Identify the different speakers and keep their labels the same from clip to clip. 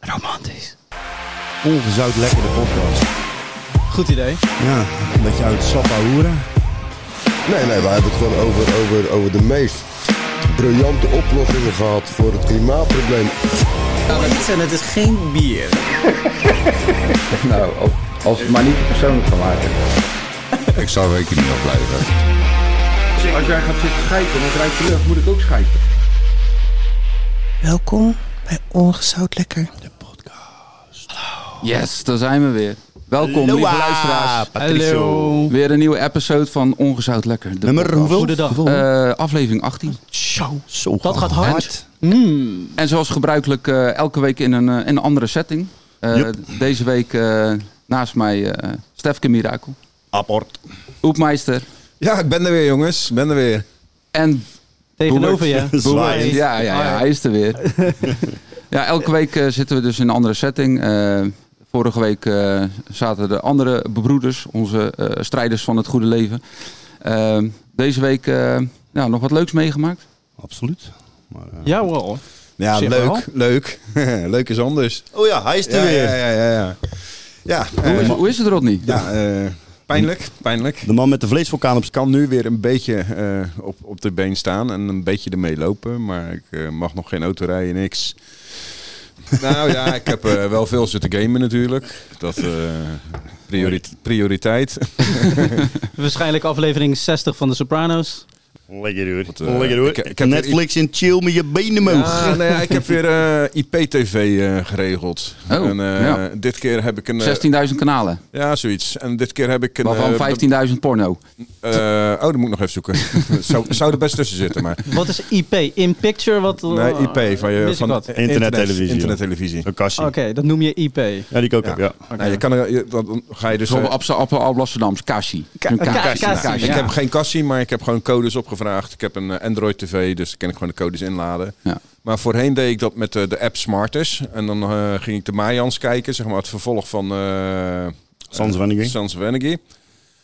Speaker 1: Romantisch.
Speaker 2: Ongezout lekker de podcast.
Speaker 1: Goed idee.
Speaker 2: Ja, een beetje uit het sap hoeren.
Speaker 3: Nee, nee, we hebben het gewoon over, over, over de meest briljante oplossingen gehad voor het klimaatprobleem.
Speaker 1: En Nou, het is geen bier.
Speaker 4: Nou, als maar niet persoonlijk van maken.
Speaker 5: Ik zou rekening niet blijven.
Speaker 4: Als jij gaat zitten schijpen en het ruikt lucht, moet ik ook schijpen.
Speaker 6: Welkom bij Ongezout Lekker.
Speaker 4: Yes, daar zijn we weer. Welkom, lieve
Speaker 1: Ah,
Speaker 4: luisteraars.
Speaker 1: Hallo.
Speaker 4: Weer een nieuwe episode van Ongezout Lekker. de
Speaker 2: Nummer
Speaker 4: podcast.
Speaker 2: hoeveel?
Speaker 1: Goedendag.
Speaker 4: Eh, aflevering 18.
Speaker 2: Zo, zo
Speaker 1: Dat gaat hard.
Speaker 4: En zoals gebruikelijk eh, elke week in een, eh, in een andere setting. Eh, Deze week eh, naast mij eh Stefke Mirakel,
Speaker 5: Apport.
Speaker 4: Oepmeister
Speaker 5: Ja, ik ben er weer, jongens. Ik ben er weer.
Speaker 4: en
Speaker 1: Tegenover je.
Speaker 2: Zwaai.
Speaker 1: Boer.
Speaker 4: Ja, ja, ja, hij is er weer. ja, elke week eh, zitten we dus in een andere setting. Eh, vorige week eh, zaten de andere bebroeders, onze eh, strijders van het goede leven. Eh, deze week eh, ja, nog wat leuks meegemaakt.
Speaker 2: Absoluut. Maar, eh,
Speaker 1: Ja, wel.
Speaker 5: Ja,
Speaker 1: Zeg maar.
Speaker 5: leuk. Leuk. leuk is anders.
Speaker 3: Oh ja, hij is er
Speaker 5: Ja,
Speaker 3: weer.
Speaker 5: ja, ja, ja. Ja, ja,
Speaker 4: Hoe
Speaker 5: eh,
Speaker 4: is, hoe is het, Rodney?
Speaker 5: ja eh, pijnlijk. Pijnlijk.
Speaker 2: de man met de vleesvulkaan op
Speaker 5: Ik
Speaker 2: zijn
Speaker 5: kan nu weer een beetje eh, op, op de been staan en een beetje ermee lopen, maar ik eh, mag nog geen auto rijden, niks. Nou ja, ik heb eh, wel veel zitten gamen natuurlijk. Dat eh, priori- prioriteit.
Speaker 1: Waarschijnlijk aflevering 60 van de Sopranos.
Speaker 2: Lekker hoor.
Speaker 5: Wat, eh,
Speaker 2: Lekker hoor.
Speaker 5: ik- ik heb
Speaker 2: Netflix en chill met je benen moog.
Speaker 5: Ja, nou ja, ik heb weer eh, IPTV eh, geregeld.
Speaker 4: Oh,
Speaker 5: en, eh,
Speaker 4: ja.
Speaker 5: Dit keer heb ik een... eh,
Speaker 4: 16.000 kanalen,
Speaker 5: Ja, zoiets. En dit keer heb ik een... eh,
Speaker 4: waarvan 15.000 porno.
Speaker 5: eh, oh, dat moet ik nog even zoeken. zou, zou er best tussen zitten, maar...
Speaker 1: Wat is IP? In picture? Wat,
Speaker 5: Nee, IP van je...
Speaker 1: Oh. Mis ik
Speaker 5: Van
Speaker 1: wat?
Speaker 2: Internettelevisie.
Speaker 5: Internettelevisie.
Speaker 2: Een kastje.
Speaker 1: Oké, dat noem je IP.
Speaker 2: Ja, die ik ook heb, ja.
Speaker 5: Nou, je kan er, je- dan ga je dus...
Speaker 4: Zoals
Speaker 5: eh,
Speaker 4: Absa Appel Alblasserdams, Kashi. Een
Speaker 1: Ka-
Speaker 4: ka-
Speaker 1: Kashi,
Speaker 4: Kashi,
Speaker 1: ja.
Speaker 4: Kashi.
Speaker 5: Ik
Speaker 1: Ja.
Speaker 5: heb geen kassie, maar ik heb gewoon codes opgevraagd. Ik heb een eh, Android TV, dus dan kan ik gewoon de codes inladen.
Speaker 4: Ja.
Speaker 5: Maar voorheen deed ik dat met eh, de app Smarters. En dan eh, ging ik de Mayans kijken, zeg maar het vervolg van... eh,
Speaker 2: Sans Wenninger.
Speaker 5: Sans Wennegie.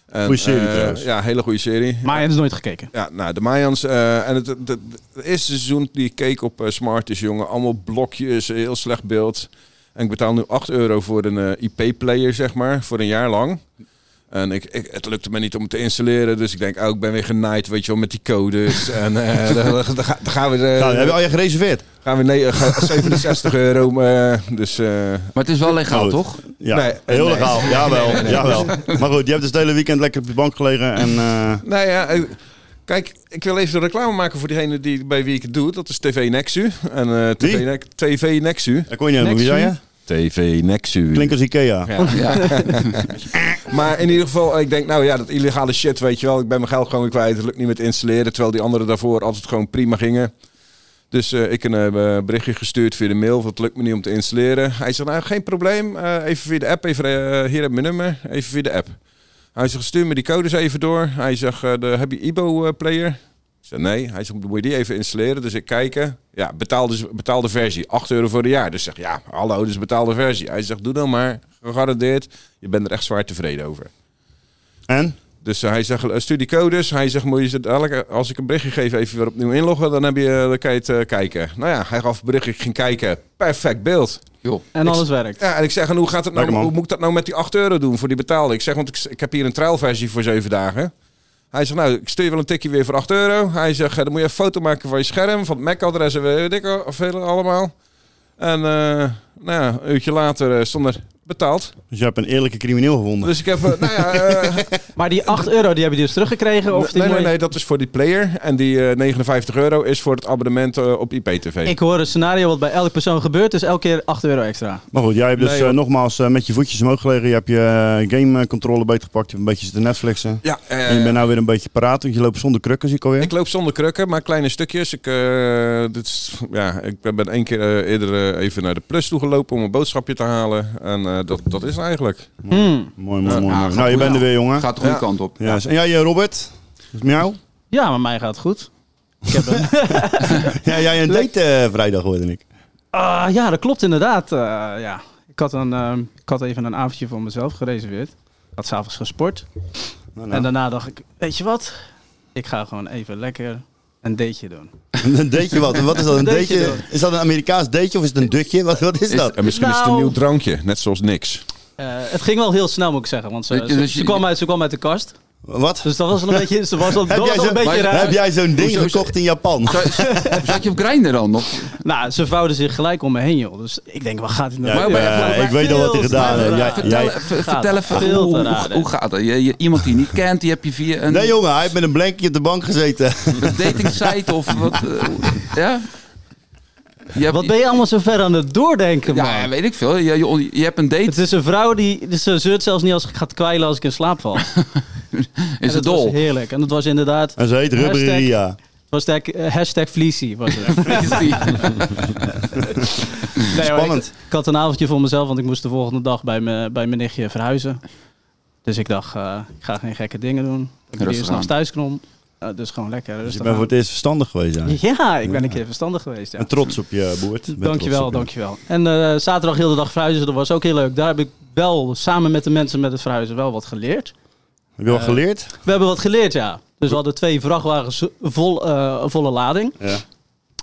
Speaker 5: En,
Speaker 2: Goeie serie
Speaker 5: eh,
Speaker 2: trouwens.
Speaker 5: Ja, hele goede serie.
Speaker 1: Maar je hebt nooit gekeken.
Speaker 5: Ja, nou, de Mayans. eh, en het, het, het- het eerste seizoen die ik keek op eh, Smart is, jongen. Allemaal blokjes, eh, heel slecht beeld. En ik betaal nu 8 euro voor een IP-player, zeg maar, voor een jaar lang. En ik, ik, het lukte me niet om het te installeren, dus ik denk, oh, ik ben weer genaaid, weet je wel, met die codes. en eh, dan, dan, dan gaan we, eh,
Speaker 2: Nou, dan heb je al je gereserveerd.
Speaker 5: gaan we nee, eh, gaan 67 euro. eh, dus eh,
Speaker 4: Maar het is wel legaal,
Speaker 2: Goed.
Speaker 4: toch?
Speaker 2: Ja,
Speaker 5: Nee,
Speaker 2: heel
Speaker 5: nee.
Speaker 2: legaal. Jawel, jawel. Maar goed, je hebt dus het hele weekend lekker op je bank gelegen en... eh,
Speaker 5: Nou ja, eh, kijk, ik wil even de reclame maken voor diegene die, bij wie ik het doe. Dat is TV Nexu. En, eh, TV,
Speaker 2: Wie?
Speaker 5: Ne- TV Nexu.
Speaker 2: Dat kon je niet helemaal, wie zei je?
Speaker 5: TV Nexu.
Speaker 2: Klinkt als Ikea.
Speaker 4: Ja.
Speaker 5: Maar in ieder geval, ik denk, nou ja, dat illegale shit, weet je wel. Ik ben mijn geld gewoon weer kwijt. Het lukt niet met installeren. Terwijl die anderen daarvoor altijd gewoon prima gingen. Dus eh, ik een eh, berichtje gestuurd via de mail. want Het lukt me niet om te installeren. Hij zegt, nou, geen probleem. Eh, even via de app. Even, eh, hier heb je mijn nummer. Even via de app. Hij zegt, stuur me die codes even door. Hij zegt, eh, de, heb je Ibo-player? ik zei, nee. Hij zegt, moet je die even installeren? Dus ik kijken. Ja, betaalde, betaalde versie. 8 euro voor een jaar. Dus ik zeg, ja, hallo, dus betaalde versie. Hij zegt, doe dan maar. Gegarandeerd. Je bent er echt zwaar tevreden over.
Speaker 2: En?
Speaker 5: Dus eh, hij zegt, eh, stuur die codes. Hij zegt, moet je ze dadelijk, als ik een berichtje geef, even weer opnieuw inloggen. Dan, heb je, eh, dan kan je het eh, kijken. Nou ja, hij gaf een berichtje. Ik ging kijken. Perfect beeld.
Speaker 4: Joh.
Speaker 1: En alles werkt.
Speaker 5: Ja, en ik zeg, en hoe, gaat het nou,
Speaker 2: Lekker, man.
Speaker 5: hoe moet ik dat nou met die 8 euro doen voor die betaalde? Ik zeg, want ik, ik heb hier een trialversie voor 7 dagen. Hij zegt, nou, ik stuur je wel een tikje weer voor 8 euro. Hij zegt, eh, dan moet je een foto maken van je scherm, van het MAC-adres en weet ik al- of veel allemaal. En eh, nou ja, een uurtje later eh, stond er betaald.
Speaker 2: Dus je hebt een eerlijke crimineel gevonden.
Speaker 5: Dus ik heb, eh, nou ja... eh,
Speaker 1: Maar die 8 euro, die hebben die dus teruggekregen? Of die
Speaker 5: nee, nee,
Speaker 1: mooie-
Speaker 5: nee, dat is voor die player. En die eh, 59 euro is voor het abonnement eh, op IPTV.
Speaker 1: Ik hoor een scenario wat bij elk persoon gebeurt, dus elke keer 8 euro extra.
Speaker 2: Maar goed, jij hebt dus
Speaker 5: Nee,
Speaker 2: eh,
Speaker 5: joh.
Speaker 2: nogmaals eh, met je voetjes omhoog gelegen. Je hebt je eh, gamecontrole beetgepakt. Je hebt een beetje zitten Netflixen.
Speaker 5: Ja, eh,
Speaker 2: en je bent nou weer een beetje paraat. Want je loopt zonder krukken, zie ik alweer.
Speaker 5: Ik loop zonder krukken, maar kleine stukjes. Ik, eh, dit is, ja, ik ben één keer eh, eerder eh, even naar de plus toe gelopen om een boodschapje te halen. En eh, dat, dat is het eigenlijk.
Speaker 1: Hmm.
Speaker 2: Mooi, mooi, mooi.
Speaker 4: Ja,
Speaker 2: mooi.
Speaker 4: gaat
Speaker 2: Nou, je
Speaker 4: goed,
Speaker 2: bent
Speaker 4: ja.
Speaker 2: er weer, jongen.
Speaker 4: Gaat de goede
Speaker 5: Ja.
Speaker 4: kant op.
Speaker 2: Ja. En jij, eh, Robert? Dat is miauw.
Speaker 1: Ja, maar mij gaat het goed.
Speaker 2: Ja, jij een date eh, vrijdag, hoorde ik.
Speaker 1: Ah, ja, dat klopt inderdaad. Eh, ja. ik, had een, ehm, ik had even een avondje voor mezelf gereserveerd. Ik had s'avonds gesport.
Speaker 2: Nou,
Speaker 1: En
Speaker 2: nou.
Speaker 1: daarna dacht ik, weet je wat? Ik ga gewoon even lekker Een dateje doen.
Speaker 2: Een deetje wat? Wat is dat? Een
Speaker 1: Een dateje
Speaker 2: deetje? Is dat een Amerikaans deetje of is het een dutje? Wat, wat is dat?
Speaker 5: En misschien is het een
Speaker 1: Nou.
Speaker 5: nieuw drankje, net zoals niks.
Speaker 1: Eh, het ging wel heel snel, moet ik zeggen. Want ze,
Speaker 4: Dus je-
Speaker 1: ze-
Speaker 4: dus je-
Speaker 1: ze, kwam, uit, ze kwam uit de kast.
Speaker 2: Wat?
Speaker 1: Dus dat was wel een beetje, ze was al, dat
Speaker 2: Heb
Speaker 1: was
Speaker 2: jij
Speaker 1: al een
Speaker 2: zo'n-
Speaker 1: beetje
Speaker 4: maar-
Speaker 1: raar.
Speaker 2: Heb jij zo'n ding
Speaker 4: Hoezo-
Speaker 2: gekocht in Japan?
Speaker 4: Zat je op Grindr dan? Of,
Speaker 1: Nou, ze vouwden zich gelijk om me heen, joh. Dus ik denk, waar gaat dit nou?
Speaker 2: Ja,
Speaker 1: over?
Speaker 4: maar-
Speaker 2: ja,
Speaker 4: maar-
Speaker 2: ik weet al wat hij gedaan heeft. Jij-
Speaker 4: vertel,
Speaker 2: jij-
Speaker 4: even- vertel even,
Speaker 1: Veel te
Speaker 4: hoe,
Speaker 1: raar,
Speaker 4: hoe-
Speaker 1: hè?
Speaker 4: hoe gaat dat? Je, je- iemand die je niet kent, die heb je via een,
Speaker 2: Nee jongen, hij heeft met een blankje op de bank gezeten.
Speaker 4: een dating site of wat? eh, ja? Je hebt-
Speaker 1: Wat ben je allemaal zo ver aan het doordenken, man?
Speaker 4: Ja, weet ik veel. Je, je, je hebt een
Speaker 1: Het
Speaker 4: date,
Speaker 1: is een vrouw die dus ze zeurt zelfs niet als ik gaat kwijlen als ik in slaap val. En
Speaker 4: is het
Speaker 1: dat was
Speaker 4: dol?
Speaker 1: heerlijk. En dat was inderdaad
Speaker 2: En ze heet Rubber
Speaker 1: Hashtag-
Speaker 2: Ria.
Speaker 1: hashtag, eh, hashtag Fleecy. Was het. Nee, hoor,
Speaker 2: Spannend.
Speaker 1: ik, ik had een avondje voor mezelf, want ik moest de volgende dag bij, me, bij mijn nichtje verhuizen. Dus ik dacht, eh, ik ga geen gekke dingen doen. Ik ben
Speaker 4: Rustig
Speaker 1: hier s'nachts
Speaker 4: aan.
Speaker 1: thuis krom. Eh, dus gewoon lekker
Speaker 2: Dus je
Speaker 1: rustig
Speaker 2: bent voor het eerst verstandig geweest
Speaker 1: aan.
Speaker 2: eigenlijk.
Speaker 1: Ja, ik ben een keer verstandig geweest. Ja.
Speaker 2: En trots op je, Boert. Ik ben
Speaker 1: Dankjewel,
Speaker 2: trots op je.
Speaker 1: dankjewel. En eh, zaterdag heel de dag verhuizen, dat was ook heel leuk. Daar heb ik wel samen met de mensen met het verhuizen wel wat geleerd.
Speaker 2: Heb je
Speaker 1: Eh,
Speaker 2: wel geleerd?
Speaker 1: We hebben wat geleerd, ja. Dus we hadden twee vrachtwagens vol, eh, volle lading.
Speaker 2: Ja.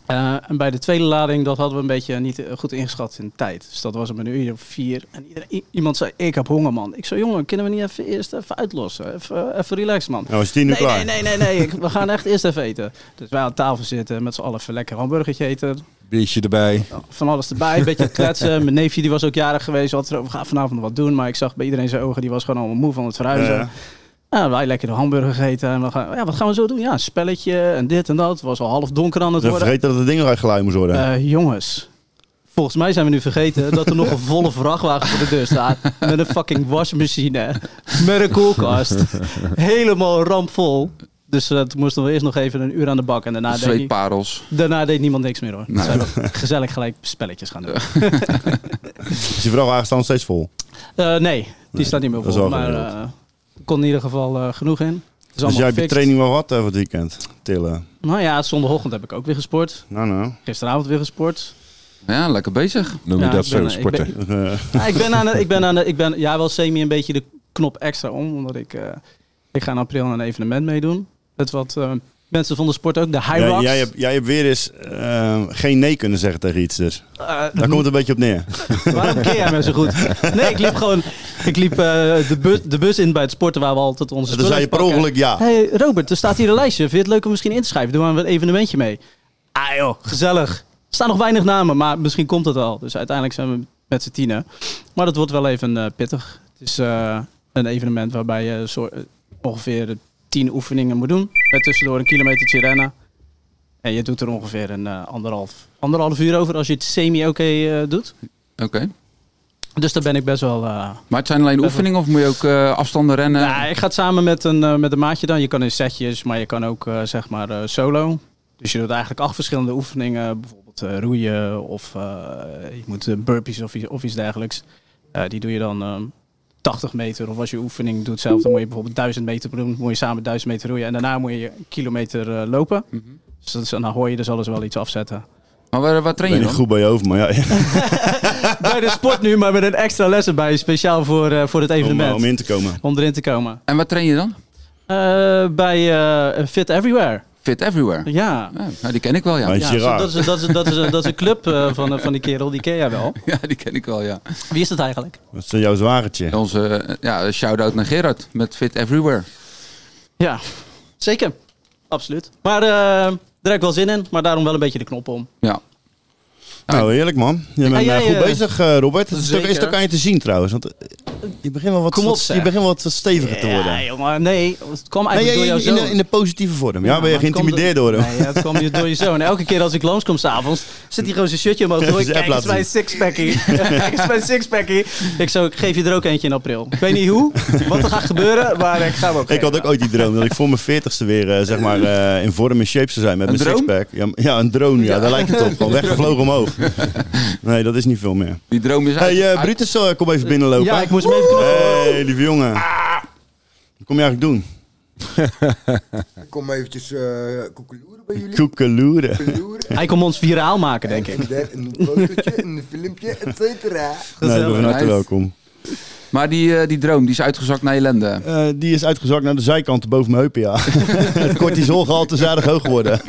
Speaker 1: Eh, en bij de tweede lading, dat hadden we een beetje niet eh, goed ingeschat in de tijd. Dus dat was om een uur of vier. En iedereen- i- iemand zei, ik heb honger, man. Ik zei, jongen, kunnen we niet even eerst even uitlossen? Even, eh, even relaxen, man.
Speaker 2: Nou, is tien uur
Speaker 1: Nee,
Speaker 2: klaar.
Speaker 1: nee, nee, nee, nee. Ik- we gaan echt eerst even eten. Dus wij aan tafel zitten, met z'n allen even lekker hamburgertje eten.
Speaker 5: Biertje erbij.
Speaker 1: Van alles erbij, een beetje kletsen. Mijn neefje die was ook jarig geweest, had erover, we gaan vanavond nog wat doen. Maar ik zag bij iedereen zijn ogen, die was gewoon allemaal moe van het verhuizen.
Speaker 2: Ja.
Speaker 1: Ja, wij lekker de hamburger gegeten. En we gaan, ja, wat gaan we zo doen? Ja, een spelletje en dit en dat. Het was al half donker aan het
Speaker 2: Ze
Speaker 1: worden.
Speaker 2: vergeten dat het ding eruit geluid moest worden.
Speaker 1: Eh, jongens, volgens mij zijn we nu vergeten dat er nog een volle vrachtwagen voor de deur staat. Met een fucking wasmachine. Met een koelkast. Helemaal rampvol. Dus eh, toen moesten we eerst nog even een uur aan de bak. En daarna deed, nie-
Speaker 4: Zweetparels.
Speaker 1: daarna deed niemand niks meer hoor.
Speaker 4: Nee.
Speaker 1: Zijn we gezellig gelijk spelletjes gaan doen.
Speaker 2: Dus je vrachtwagen staat nog steeds vol.
Speaker 1: Eh, nee, die staat niet meer
Speaker 2: dat is
Speaker 1: vol.
Speaker 2: wel
Speaker 1: Maar
Speaker 2: geregeld.
Speaker 1: eh, er kon in ieder geval eh, genoeg in. Het is
Speaker 2: Dus
Speaker 1: allemaal
Speaker 2: jij hebt je
Speaker 1: gefixt.
Speaker 2: training wel gehad over het weekend. Tillen.
Speaker 1: Nou ja, zondagochtend heb ik ook weer gesport.
Speaker 2: Nou, nou.
Speaker 1: Gisteravond weer gesport.
Speaker 4: Ja, lekker bezig.
Speaker 5: Noem je
Speaker 1: Ja,
Speaker 5: dat
Speaker 1: ik ben-
Speaker 5: zo,
Speaker 1: ik ben-
Speaker 5: sporten?
Speaker 2: Eh,
Speaker 1: Ja, Nou, ik ben aan de, ik ben aan de, ik ben, ja, wel semi een beetje de knop extra om, omdat ik, eh, ik ga in april aan een evenement meedoen. Met wat eh, mensen van de sport ook, de high
Speaker 2: jij,
Speaker 1: rocks.
Speaker 2: jij, hebt, jij hebt weer eens eh, geen nee kunnen zeggen tegen iets. Dus.
Speaker 1: Eh,
Speaker 2: Daar komt het een beetje op neer.
Speaker 1: Waarom keer jij mij zo goed? Nee, ik liep gewoon, ik liep eh, de, bus, de bus in bij het sporten waar we altijd onze
Speaker 2: Toen zei je per
Speaker 1: pakken.
Speaker 2: ongeluk ja.
Speaker 1: Hey Robert, er staat hier een lijstje. Vind je het leuk om misschien in te schrijven? Doen we een evenementje mee. Ah joh, gezellig. Er staan nog weinig namen, maar misschien komt het al. Dus uiteindelijk zijn we met z'n tienen. Maar dat wordt wel even eh, pittig. Het is eh, een evenement waarbij je zo, eh, ongeveer tien oefeningen moet doen. Met tussendoor een kilometertje rennen. En je doet er ongeveer een eh, anderhalf, anderhalf uur over als je het semi-oké eh, doet.
Speaker 4: Oké.
Speaker 1: Dus daar ben ik best wel... eh,
Speaker 4: Maar het zijn alleen oefeningen of moet je ook eh, afstanden rennen?
Speaker 1: nou, ik ga het samen met een, eh, met een maatje dan. Je kan in setjes, maar je kan ook eh, zeg maar eh, solo. Dus je doet eigenlijk acht verschillende oefeningen. Bijvoorbeeld eh, roeien of eh, je moet eh, burpees of, iets- of iets dergelijks. Eh, die doe je dan ehm, 80 meter. Of als je oefening doet zelf, dan moet je bijvoorbeeld 1000 meter doen. Moet je samen 1000 meter roeien. En daarna moet je een kilometer eh, lopen.
Speaker 4: Mhm.
Speaker 1: Dus dat is, en dan hoor je dus alles wel iets afzetten.
Speaker 4: Maar waar, waar train
Speaker 2: Ben
Speaker 4: je
Speaker 2: je
Speaker 4: dan?
Speaker 2: goed bij je hoofd, maar ja.
Speaker 1: Bij de sport nu, maar met een extra les erbij. Speciaal voor, eh, voor het
Speaker 2: Om,
Speaker 1: evenement.
Speaker 2: eh,
Speaker 4: Oh,
Speaker 1: Om,
Speaker 2: om in te komen.
Speaker 1: erin te komen.
Speaker 4: En waar train je dan?
Speaker 1: Eh, bij eh, Fit Everywhere.
Speaker 4: Fit Everywhere.
Speaker 1: Ja.
Speaker 4: Ja, nou, die ken ik wel, ja.
Speaker 2: Maar-
Speaker 1: Ja,
Speaker 2: Gerard.
Speaker 1: zo- dat, is, dat, is, dat, is, dat is een club eh, van, eh, van die kerel, die ken jij wel.
Speaker 4: Ja, die ken ik wel, ja.
Speaker 1: Wie is dat eigenlijk?
Speaker 2: Dat is jouw zwagertje.
Speaker 4: Onze eh, ja, shout-out naar Gerard met Fit Everywhere.
Speaker 1: Ja, zeker. Absoluut. Maar eh, daar heb ik wel zin in, maar daarom wel een beetje de knop om.
Speaker 4: Ja.
Speaker 2: Nou, heerlijk man. Je bent
Speaker 1: jij,
Speaker 2: eh, goed
Speaker 1: eh,
Speaker 2: bezig, eh, Robert. Het is, ook,
Speaker 1: zeker.
Speaker 2: is het ook aan je te zien trouwens. Want eh, je begint wel wat,
Speaker 1: Kom op,
Speaker 2: wat-
Speaker 1: zeg.
Speaker 2: je begint wel wat steviger te worden.
Speaker 1: Ja, jongen, nee. Het kwam
Speaker 2: Nee,
Speaker 1: eigenlijk
Speaker 2: ja,
Speaker 1: door
Speaker 2: in,
Speaker 1: jouw
Speaker 2: in,
Speaker 1: zoon.
Speaker 2: de, in de positieve vorm. Ja,
Speaker 1: maar
Speaker 2: ben je
Speaker 1: het kwam
Speaker 2: geïntimideerd door hem?
Speaker 1: Nee, ja, het kwam je door je zoon. Elke keer als ik langskom s'avonds, zit hij gewoon zijn shirtje omhoog. te doen.
Speaker 2: Zijn
Speaker 1: Kijk
Speaker 2: app
Speaker 1: eens mijn sixpackie. Kijk eens mijn sixpackie. Ik zo, ik geef je er ook eentje in april. Ik weet niet hoe, wat er gaat gebeuren, maar ik ga hem ook
Speaker 2: Ik had ook ooit die droom dat ik voor mijn veertigste weer eh, zeg maar, eh, in vorm en shape zou zijn met
Speaker 4: Een
Speaker 2: mijn
Speaker 4: drone?
Speaker 2: sixpack. Ja, m- ja, een drone, ja, daar lijkt het op. Gewoon weggevlogen omhoog. Nee, dat is niet veel meer.
Speaker 4: Die droom is uit.
Speaker 2: hey, eh,
Speaker 4: uit-
Speaker 2: Brutus, eh, kom even binnenlopen.
Speaker 1: Ja, ik moest hem even knuffelen.
Speaker 2: hey, lieve jongen. Wat kom je eigenlijk doen?
Speaker 3: Ik kom eventjes eh koekeloeren bij
Speaker 1: Ah.
Speaker 3: jullie.
Speaker 2: Koekeloeren.
Speaker 3: Koekeloeren.
Speaker 1: Hij kon ons viraal maken, denk ik.
Speaker 3: En daar een fotootje, een filmpje, et cetera.
Speaker 2: Nee, ik ben van harte
Speaker 4: Nice.
Speaker 2: welkom.
Speaker 4: Maar die, eh, die droom die is uitgezakt naar ellende.
Speaker 2: Eh, die is uitgezakt naar de zijkant boven mijn heupen, ja. het cortisolgehalte is aardig hoog geworden.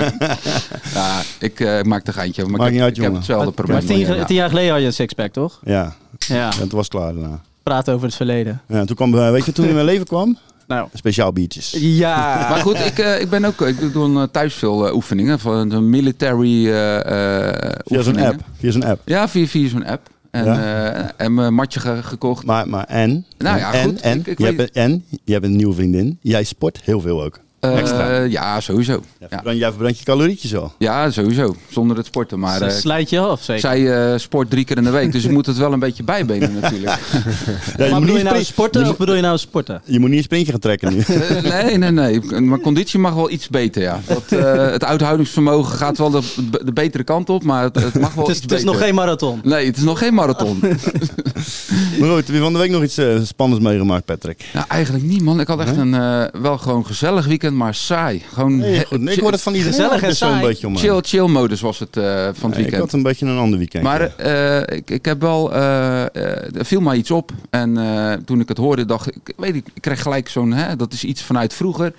Speaker 4: Ja, ik eh, maak de geintje. over,
Speaker 2: Maakt
Speaker 4: Maar ik,
Speaker 2: niet uit,
Speaker 4: ik heb
Speaker 2: jongen.
Speaker 4: hetzelfde probleem.
Speaker 1: Maar tien,
Speaker 4: Ja,
Speaker 1: ge- tien jaar geleden had je een sixpack, toch?
Speaker 2: ja,
Speaker 1: Ja,
Speaker 2: en toen was het klaar daarna.
Speaker 1: praten over het verleden.
Speaker 2: Ja, toen kwam, eh, weet je, toen in mijn leven kwam,
Speaker 1: Nou,
Speaker 2: speciaal biertjes.
Speaker 1: ja.
Speaker 4: Maar goed, ik, eh, ik ben ook. Ik doe- doe eh, thuis veel eh, oefeningen van de military eh, eh,
Speaker 2: Via zo'n
Speaker 4: oefeningen.
Speaker 2: app. Via zo'n app.
Speaker 4: Ja, via, via zo'n app. En,
Speaker 2: Ja.
Speaker 4: eh, en mijn matje ge- gekocht.
Speaker 2: Maar, maar en,
Speaker 4: Nou ja,
Speaker 2: en,
Speaker 4: goed.
Speaker 2: en,
Speaker 4: Ik- ik
Speaker 2: je
Speaker 4: weet-
Speaker 2: hebt, een- en, je hebt een nieuwe vriendin. Jij sport heel veel ook.
Speaker 4: Eh,
Speaker 2: Extra.
Speaker 4: ja, sowieso.
Speaker 2: Jij
Speaker 4: Ja.
Speaker 2: verbrandt, jij verbrandt je calorietjes al.
Speaker 4: ja, sowieso. Zonder het sporten. Maar
Speaker 1: Ze
Speaker 4: eh,
Speaker 1: slijt je af, zeker.
Speaker 4: zij eh, sport drie keer in de week. Dus ik moet het wel een beetje bijbenen natuurlijk.
Speaker 2: Ja,
Speaker 1: maar
Speaker 2: moet
Speaker 1: bedoel je
Speaker 2: niet
Speaker 1: nou
Speaker 2: spri-
Speaker 1: sporten of bedoel je nou sporten?
Speaker 2: je moet niet een sprintje gaan trekken nu.
Speaker 4: Eh, nee, nee, nee. Mijn conditie mag wel iets beter, ja. Dat, eh, het uithoudingsvermogen gaat wel de, de betere kant op, maar het, het mag wel
Speaker 1: Het
Speaker 4: iets
Speaker 1: is, het is
Speaker 4: beter.
Speaker 1: nog geen marathon.
Speaker 4: Nee, het is nog geen marathon.
Speaker 2: maar goed, heb je van de week nog iets eh, spannends meegemaakt, Patrick?
Speaker 4: Nou, eigenlijk niet, man. Ik had echt een eh, wel gewoon gezellig weekend, maar saai. Gewoon
Speaker 2: Nee,
Speaker 4: he-
Speaker 2: goed. Nee, ik
Speaker 4: chill-
Speaker 2: hoor het van iedereen.
Speaker 1: Gezellig en
Speaker 2: altijd zo'n
Speaker 1: saai.
Speaker 2: beetje om.
Speaker 4: chill, chill modus was het eh, van het
Speaker 2: Nee, ik
Speaker 4: weekend.
Speaker 2: had een beetje een ander weekend.
Speaker 4: Maar
Speaker 2: ja.
Speaker 4: eh, ik, ik heb wel, eh, eh, er viel mij iets op. En eh, toen ik het hoorde, dacht ik, weet ik, ik kreeg gelijk zo'n, hè, dat is iets vanuit vroeger.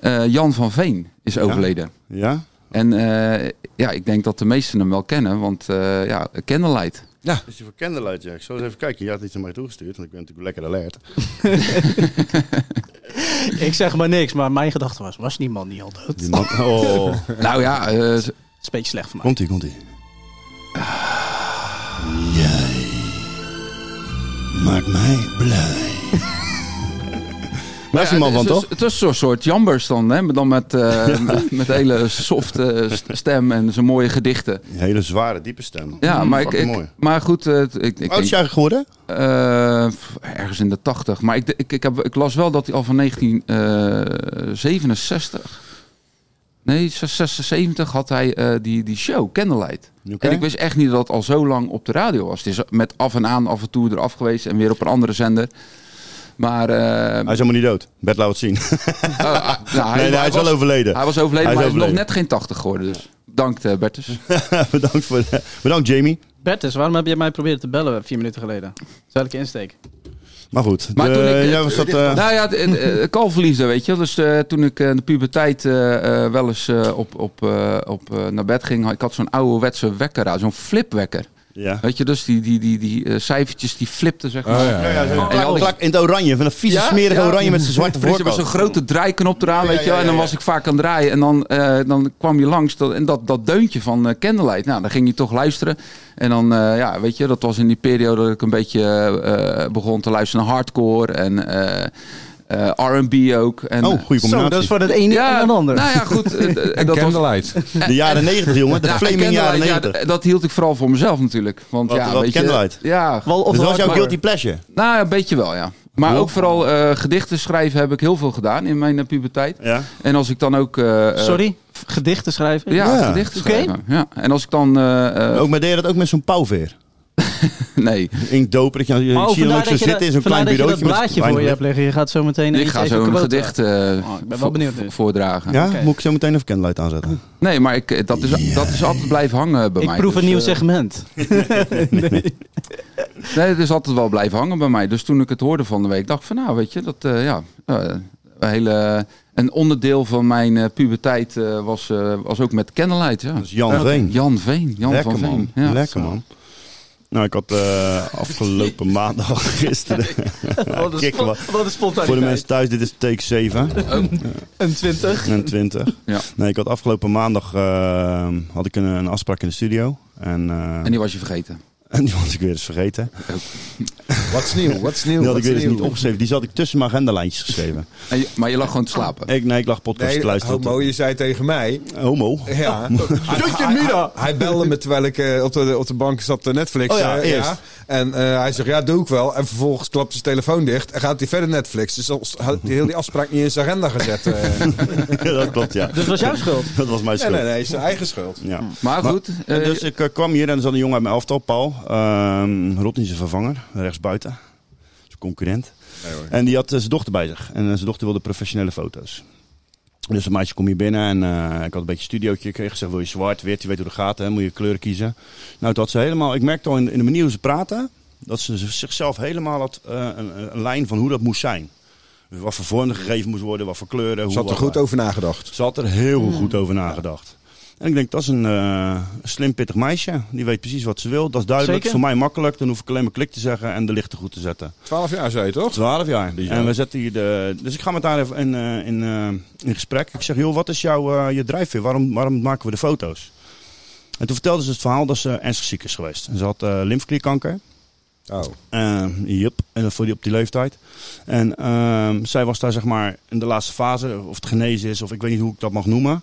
Speaker 4: Eh, Jan van Veen is overleden.
Speaker 2: ja?
Speaker 4: En eh, ja, ik denk dat de meesten hem wel kennen, want eh ja, Candlelight.
Speaker 2: Is die voor Candlelight, Jack? Zo eens even kijken. Je had iets aan mij toegestuurd, want ik ben natuurlijk lekker alert.
Speaker 1: Ik zeg maar niks, maar mijn gedachte was, was die man niet al dood? Het
Speaker 2: Die man... Oh.
Speaker 4: Nou ja, eh, z-
Speaker 1: is een beetje slecht van mij.
Speaker 2: komt-ie, komt-ie. Jij maakt mij blij. Waar is dus die man
Speaker 4: ja,
Speaker 2: van,
Speaker 4: het is-
Speaker 2: toch?
Speaker 4: Het was zo'n soort jambers dan, hè, maar dan met, eh, met, met hele softe st- stem en zijn mooie gedichten.
Speaker 2: Een hele zware, diepe stem. Mm,
Speaker 4: Ja, maar, ik,
Speaker 2: Fucking
Speaker 4: ik-
Speaker 2: mooi.
Speaker 4: maar goed, eh, t- ik, ik
Speaker 2: Oud is
Speaker 4: denk,
Speaker 2: jij geworden?
Speaker 4: eh, f- ergens in de tachtig. Maar ik, d- ik, ik, heb, ik las wel dat hij al van 1967, nee, 76 had hij eh, die, die show, Candlelight.
Speaker 2: Oké.
Speaker 4: En ik wist echt niet dat het al zo lang op de radio was. Het is met af en aan af en toe eraf geweest en weer op een andere zender. Maar eh,
Speaker 2: Hij is helemaal niet dood. Bert, laat het zien.
Speaker 4: oh, ah, nou,
Speaker 2: nee, nee, hij Ah. is
Speaker 4: was,
Speaker 2: wel overleden.
Speaker 4: Hij was overleden,
Speaker 2: Hij is
Speaker 4: maar hij is
Speaker 2: overleden.
Speaker 4: nog net geen 80 geworden. Dus bedankt eh, Bertus.
Speaker 2: bedankt, voor, bedankt, Jamie.
Speaker 1: Bertus, waarom heb je mij proberen te bellen vier minuten geleden? Terwijl ik je insteek.
Speaker 2: Maar goed,
Speaker 4: Maar
Speaker 2: de-
Speaker 4: toen ik, eh,
Speaker 2: jij was dat... eh,
Speaker 4: nou ja, het- het- eh, kalverliefde, weet je. Dus eh, toen ik eh, in de puberteit eh, eh, wel eens eh, op, op, eh, op, eh, naar bed ging, had- ik had zo'n ouderwetse wekker aan, zo'n flipwekker.
Speaker 2: ja.
Speaker 4: Weet je, dus die, die, die, die eh, cijfertjes die flipten,
Speaker 2: Oh,
Speaker 4: zeg maar.
Speaker 2: Klak,
Speaker 4: had ik-
Speaker 2: klak, in het oranje, van een vieze
Speaker 4: Ja,
Speaker 2: smerige
Speaker 4: ja.
Speaker 2: oranje met zijn zwarte
Speaker 4: Precies, er was
Speaker 2: voorkant.
Speaker 4: zo'n grote draaiknop eraan, weet je wel.
Speaker 2: ja,
Speaker 4: En dan
Speaker 2: ja,
Speaker 4: was ik vaak aan het draaien. En dan, eh, dan kwam je langs dat, en dat, dat deuntje van eh, Candlelight. Nou, dan ging je toch luisteren. En dan, eh, ja, weet je, dat was in die periode dat ik een beetje eh, begon te luisteren naar hardcore en eh, eh, R&B ook. En,
Speaker 2: Oh, goede
Speaker 1: Zo, dat
Speaker 2: combinatie.
Speaker 1: is van het ene en het ander.
Speaker 4: nou ja, goed. eh, eh,
Speaker 5: En
Speaker 4: dat was-
Speaker 5: Candlelight.
Speaker 2: De jaren negentig, jongen. De
Speaker 4: ja, en
Speaker 2: flaming jaren
Speaker 4: Candlelight, ja,
Speaker 2: negentig.
Speaker 4: d- dat hield ik vooral voor mezelf natuurlijk. Want
Speaker 2: Wat-
Speaker 4: ja,
Speaker 2: wat
Speaker 4: weet je,
Speaker 2: Candlelight?
Speaker 4: Ja,
Speaker 1: Wel of
Speaker 2: Dus dat was jouw
Speaker 1: hardcore.
Speaker 2: guilty pleasure?
Speaker 4: nou, een beetje wel, ja. Maar ook vooral eh, gedichten schrijven heb ik heel veel gedaan in mijn eh, puberteit.
Speaker 2: Ja.
Speaker 4: En als ik dan ook. eh, eh,
Speaker 1: Sorry? Gedichten schrijven? Oh,
Speaker 4: Ja,
Speaker 2: Ja.
Speaker 4: gedichten
Speaker 1: Oké.
Speaker 4: schrijven. Ja. En als ik dan. eh, eh,
Speaker 2: Ook maar deed je dat ook met zo'n pauwveer?
Speaker 4: nee,
Speaker 2: Inkdopen, dat je, je
Speaker 1: Oh,
Speaker 2: ziet hem
Speaker 1: vandaar
Speaker 2: ook zo
Speaker 1: dat je
Speaker 2: zitten in zo'n
Speaker 1: dat-
Speaker 2: klein
Speaker 1: vandaar
Speaker 2: bureautje.
Speaker 1: dat je dat
Speaker 2: met
Speaker 1: blaadje
Speaker 2: klein
Speaker 1: voor je
Speaker 2: licht.
Speaker 1: hebt liggen. Je gaat zo meteen
Speaker 4: ik ga zo'n gedicht eh,
Speaker 1: Oh, ik ben wel
Speaker 4: vo-
Speaker 1: benieuwd
Speaker 4: vo-
Speaker 1: dus.
Speaker 4: voordragen.
Speaker 2: Ja,
Speaker 1: Oké.
Speaker 2: moet ik zo meteen even candlelight aanzetten.
Speaker 4: Nee, maar ik, eh, dat, is, dat is altijd blijven hangen bij
Speaker 1: Ik
Speaker 4: mij.
Speaker 1: proef
Speaker 4: Dus,
Speaker 1: een nieuw
Speaker 4: eh,
Speaker 1: segment.
Speaker 4: Nee, het is altijd wel blijven hangen bij mij. Dus toen ik het hoorde van de week, dacht ik van nou, weet je, dat eh, ja, eh, een hele. Een onderdeel van mijn eh, puberteit eh, was, eh, was ook met Candlelight. Ja.
Speaker 2: Dat is Dus Jan Veen.
Speaker 4: Jan Veen. Jan
Speaker 2: Lekker
Speaker 4: van
Speaker 2: man.
Speaker 4: Veen. Ja.
Speaker 2: Lekker man. Nou, ik had eh, afgelopen maandag gisteren.
Speaker 1: Wat
Speaker 2: Kijk,
Speaker 1: spo-
Speaker 2: wat-
Speaker 1: wat een spontaniteit.
Speaker 2: Voor de mensen thuis, dit is take 7
Speaker 1: Een 20.
Speaker 2: en 20.
Speaker 4: Ja.
Speaker 2: Nee, ik had afgelopen maandag eh, had ik een, een afspraak in de studio. En, eh,
Speaker 4: En die was je vergeten.
Speaker 2: en die was ik weer eens vergeten.
Speaker 3: What's nieuw? What's nieuw?
Speaker 2: Die had ik weer
Speaker 3: What's
Speaker 2: eens niet
Speaker 3: nieuw?
Speaker 2: opgeschreven. Die zat ik tussen mijn agendalijntjes geschreven.
Speaker 4: En je- maar je lag gewoon te slapen.
Speaker 2: Ik, nee, ik lag podcast te
Speaker 5: Nee,
Speaker 2: luisteren.
Speaker 5: homo, je zei tegen mij.
Speaker 2: Homo.
Speaker 5: Ja. hij, hij, hij belde me terwijl ik eh, op, de, op de bank zat te Netflix.
Speaker 2: Oh ja, eerst.
Speaker 5: En eh, hij zegt, ja, doe ik wel. En vervolgens klapt zijn telefoon dicht en gaat hij verder Netflix. Dus dan had hij heel die afspraak niet in zijn agenda gezet. eh.
Speaker 2: Ja, dat klopt, ja.
Speaker 1: Dus dat was jouw schuld.
Speaker 2: Dat was mijn
Speaker 5: nee,
Speaker 2: schuld.
Speaker 5: nee, nee, Hm. zijn eigen schuld.
Speaker 2: Ja.
Speaker 4: Maar goed,
Speaker 2: En
Speaker 4: eh,
Speaker 2: dus ik eh, kwam hier en er zat een jongen uit mijn elftal, Paul. Ehm Rodney zijn vervanger, rechtsbuiten. Zijn concurrent. en die had eh, zijn dochter bij zich. En eh, zijn dochter wilde professionele foto's. Dus een meisje kom hier binnen en eh, ik had een beetje studiootje. Ik kreeg gezegd, wil je zwart, wit, je weet hoe dat gaat, hè? moet je kleuren kiezen. Nou, toen had ze helemaal, ik merkte al in, in de manier hoe ze praten, Dat ze zichzelf helemaal had eh, een, een lijn van hoe dat moest zijn. Dus wat voor vorm er gegeven moest worden, wat voor kleuren.
Speaker 5: Ze
Speaker 2: hoe,
Speaker 5: had er
Speaker 2: wat-
Speaker 5: goed over nagedacht.
Speaker 2: Ze had er heel goed over nagedacht. En ik denk, dat is een eh, slim, pittig meisje. Die weet precies wat ze wil. Dat is duidelijk.
Speaker 1: Zeker.
Speaker 2: Voor mij makkelijk. Dan hoef ik alleen maar klik te zeggen en de lichten goed te zetten.
Speaker 5: 12 jaar zei je toch?
Speaker 2: 12 jaar.
Speaker 5: Bizar.
Speaker 2: En we zetten hier de. Dus ik ga met haar even in, eh, in, eh, in gesprek. Ik zeg, joh, wat is jouw eh, je drijfveer? Waarom, waarom maken we de foto's? En toen vertelde ze het verhaal dat ze ernstig ziek is geweest. En ze had eh lymfeklierkanker.
Speaker 5: Oh.
Speaker 2: Eh, Jup, en dat voor die op die leeftijd. En ehm, zij was daar zeg maar in de laatste fase, of het genezen is, of ik weet niet hoe ik dat mag noemen.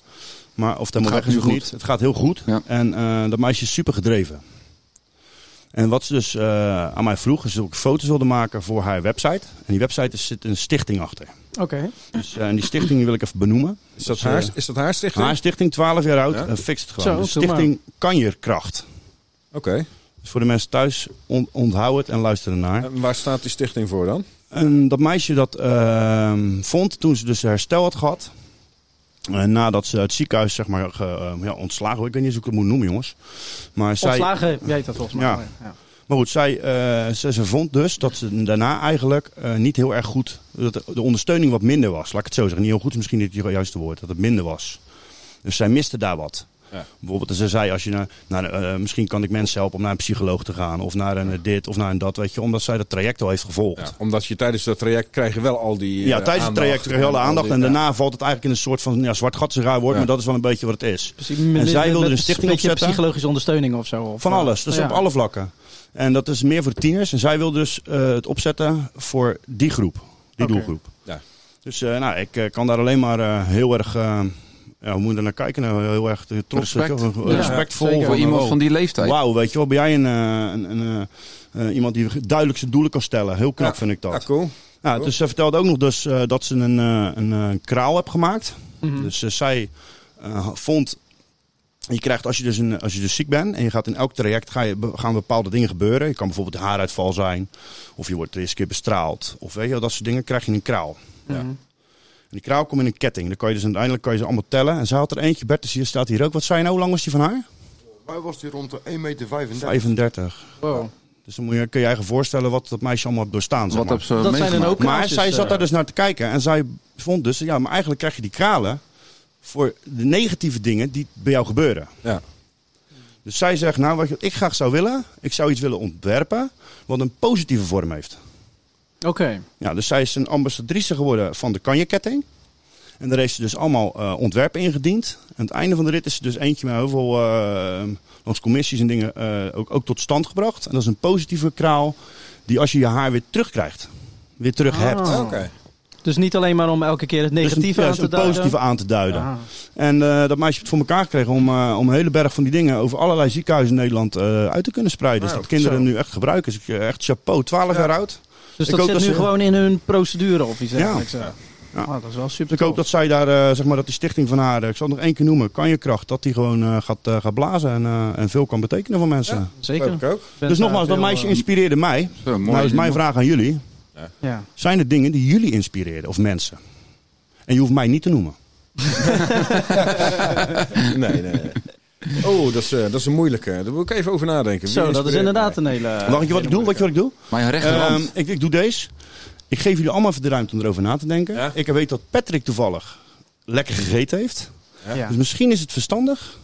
Speaker 2: Maar of het helemaal
Speaker 4: gaat
Speaker 2: weg is
Speaker 4: nu
Speaker 2: of
Speaker 4: goed.
Speaker 2: niet. Het gaat heel goed.
Speaker 4: Ja.
Speaker 2: En eh, dat meisje is super gedreven. En wat ze dus eh, aan mij vroeg, is dat ik foto's wilde maken voor haar website. En die website is, zit een stichting achter.
Speaker 1: Oké.
Speaker 2: Dus, eh, en die stichting die wil ik even benoemen.
Speaker 5: Is dat,
Speaker 2: Dus,
Speaker 5: haar,
Speaker 2: eh,
Speaker 5: is dat haar stichting?
Speaker 2: Haar stichting, 12 jaar oud,
Speaker 5: Ja.
Speaker 2: eh, fixt het
Speaker 1: Zo,
Speaker 2: gewoon. Dus
Speaker 1: doe maar.
Speaker 2: stichting Kanjerkracht.
Speaker 5: Oké.
Speaker 2: Dus voor de mensen thuis, on- onthoud het en luister ernaar.
Speaker 5: En waar staat die stichting voor dan?
Speaker 2: En dat meisje dat ehm, vond toen ze dus herstel had gehad. eh, nadat ze uit het ziekenhuis zeg maar, ge- eh, ja, ontslagen. Ik weet niet eens hoe ik het moet noemen, jongens. Maar, zij,
Speaker 1: Ontslagen, jij dat volgens mij. Oh,
Speaker 2: Ja. maar goed, zij, eh, ze, ze vond dus dat ze daarna eigenlijk eh, niet heel erg goed. Dat de, de ondersteuning wat minder was. Laat ik het zo zeggen. Niet heel goed is misschien niet het juiste woord. Dat het minder was. Dus zij miste daar wat.
Speaker 5: Ja.
Speaker 2: Bijvoorbeeld, ze zei als je naar, naar eh, misschien kan ik mensen helpen om naar een psycholoog te gaan. Of naar een eh, dit of naar een dat. Weet je, omdat zij dat traject al heeft gevolgd.
Speaker 5: Ja, omdat je tijdens dat traject krijg je wel al die.
Speaker 2: Ja,
Speaker 5: eh,
Speaker 2: tijdens het traject krijg je hele
Speaker 5: en al
Speaker 2: aandacht.
Speaker 5: die-
Speaker 2: En
Speaker 5: ja.
Speaker 2: daarna valt het eigenlijk in een soort van ja, zwart gat is een raar woord,
Speaker 5: Ja.
Speaker 2: maar dat is wel een beetje wat het is.
Speaker 1: Precies,
Speaker 2: En zij wilde
Speaker 1: met
Speaker 2: een stichting
Speaker 1: beetje
Speaker 2: opzetten?
Speaker 1: psychologische ondersteuning of zo. Of,
Speaker 2: Van
Speaker 1: eh,
Speaker 2: alles, dus
Speaker 1: ja.
Speaker 2: op alle vlakken. En dat is meer voor tieners. En zij wil dus eh, het opzetten voor die groep, die
Speaker 1: Oké.
Speaker 2: doelgroep.
Speaker 5: Ja.
Speaker 2: Dus eh, nou, ik eh, kan daar alleen maar eh, heel erg, eh ja, hoe moet je daar naar kijken? Nou, heel erg eh, trots,
Speaker 4: Respect.
Speaker 2: weet je wel.
Speaker 1: Ja, oh.
Speaker 2: respectvol.
Speaker 1: zeker.
Speaker 2: van,
Speaker 4: Voor iemand
Speaker 2: wow.
Speaker 4: van die leeftijd.
Speaker 2: Wauw, weet je wel, ben jij een, eh, een, een, eh, eh, iemand die duidelijk zijn doelen kan stellen. Heel knap
Speaker 5: Ja.
Speaker 2: vind ik dat.
Speaker 5: Ja, cool.
Speaker 1: Oh.
Speaker 2: Nou, dus ze vertelde ook nog dus, eh, dat ze een, eh, een eh, kraal heeft gemaakt.
Speaker 1: Mhm.
Speaker 2: Dus eh, zij eh, vond. Je krijgt als je, dus een, als je dus ziek bent en je gaat in elk traject ga je, be- gaan bepaalde dingen gebeuren. Je kan bijvoorbeeld haaruitval zijn, of je wordt de eerste keer bestraald, of weet je wel, dat soort dingen. Krijg je een kraal.
Speaker 1: Mhm.
Speaker 2: En die kraal komt in een ketting. Dan kan je dus uiteindelijk kan je ze allemaal tellen. En zij had er eentje, Bertus hier staat hier ook. Wat zei je nou? Hoe lang was die van haar?
Speaker 3: Wij was die rond de 1,35 meter.
Speaker 2: 35.
Speaker 1: Wow.
Speaker 2: Dus dan moet je, kun je je eigen voorstellen wat dat meisje allemaal heeft doorstaan. Zeg
Speaker 4: Wat
Speaker 2: maar.
Speaker 4: op ze
Speaker 1: Dat zijn dan
Speaker 4: meegemaakt.
Speaker 1: ook
Speaker 2: Maar
Speaker 1: kaarsjes,
Speaker 2: zij zat
Speaker 1: eh,
Speaker 2: daar dus naar te kijken en zij vond dus, ja, maar eigenlijk krijg je die kralen voor de negatieve dingen die bij jou gebeuren.
Speaker 5: Ja.
Speaker 2: Dus zij zegt, nou, wat ik graag zou willen, ik zou iets willen ontwerpen wat een positieve vorm heeft.
Speaker 1: Oké.
Speaker 2: Ja, dus zij is een ambassadrice geworden van de Kanje-ketting. En daar heeft ze dus allemaal eh, ontwerpen ingediend. Aan het einde van de rit is ze dus eentje met heel veel eh, langs commissies en dingen eh, ook, ook tot stand gebracht. En dat is een positieve kraal die als je je haar weer terugkrijgt, weer terug
Speaker 1: Ah.
Speaker 2: hebt.
Speaker 5: Oké.
Speaker 1: Dus niet alleen maar om elke keer het negatieve
Speaker 2: Dus
Speaker 1: aan
Speaker 2: een, ja,
Speaker 1: te
Speaker 2: een
Speaker 1: duiden.
Speaker 2: positieve aan te duiden.
Speaker 1: Ah.
Speaker 2: En eh, dat meisje heeft het voor elkaar gekregen om, eh, om een hele berg van die dingen over allerlei ziekenhuizen in Nederland eh, uit te kunnen spreiden. dus
Speaker 5: Nou,
Speaker 2: dat kinderen
Speaker 1: zo.
Speaker 2: nu echt gebruiken. Dus ik, eh, echt chapeau, 12
Speaker 5: Ja.
Speaker 2: jaar oud.
Speaker 1: Dus
Speaker 2: Ik
Speaker 1: dat
Speaker 2: hoop
Speaker 1: zit
Speaker 2: dat
Speaker 1: nu
Speaker 2: ze-
Speaker 1: gewoon in hun procedure of iets
Speaker 2: Ja.
Speaker 1: dergelijks. Ja.
Speaker 2: Ja.
Speaker 1: Ah, dat is wel super
Speaker 2: Dus ik hoop
Speaker 1: tof.
Speaker 2: dat zij daar, eh, zeg maar, dat die stichting van haar, eh, ik zal het nog één keer noemen, kan je kracht, dat die gewoon eh, gaat, eh, gaat blazen en, eh, en veel kan betekenen voor mensen.
Speaker 1: Zeker.
Speaker 5: Leuk ook.
Speaker 1: Ik ben
Speaker 2: Dus
Speaker 1: daar
Speaker 2: nogmaals, dat
Speaker 1: veel,
Speaker 2: meisje
Speaker 1: eh,
Speaker 2: inspireerde mij.
Speaker 4: Zo, mooi.
Speaker 2: nou is mijn vraag aan jullie.
Speaker 1: Ja.
Speaker 2: Zijn er dingen die jullie inspireerden of mensen? En je hoeft mij niet te noemen.
Speaker 5: Nee, nee. nee. Oh, dat is, eh, dat is een moeilijke. Daar moet ik even over nadenken. Wie
Speaker 1: Zo, dat is
Speaker 5: inspireert
Speaker 1: inderdaad
Speaker 5: mij?
Speaker 1: een hele... eh,
Speaker 2: Mag ik je wat ik doe? Wat je wat ik doe?
Speaker 4: Mijn rechterhand.
Speaker 2: Ehm, ik, ik doe deze. Ik geef jullie allemaal even de ruimte om erover na te denken.
Speaker 5: Ja.
Speaker 2: Ik weet dat Patrick toevallig lekker gegeten heeft.
Speaker 1: Ja.
Speaker 2: Dus misschien is het verstandig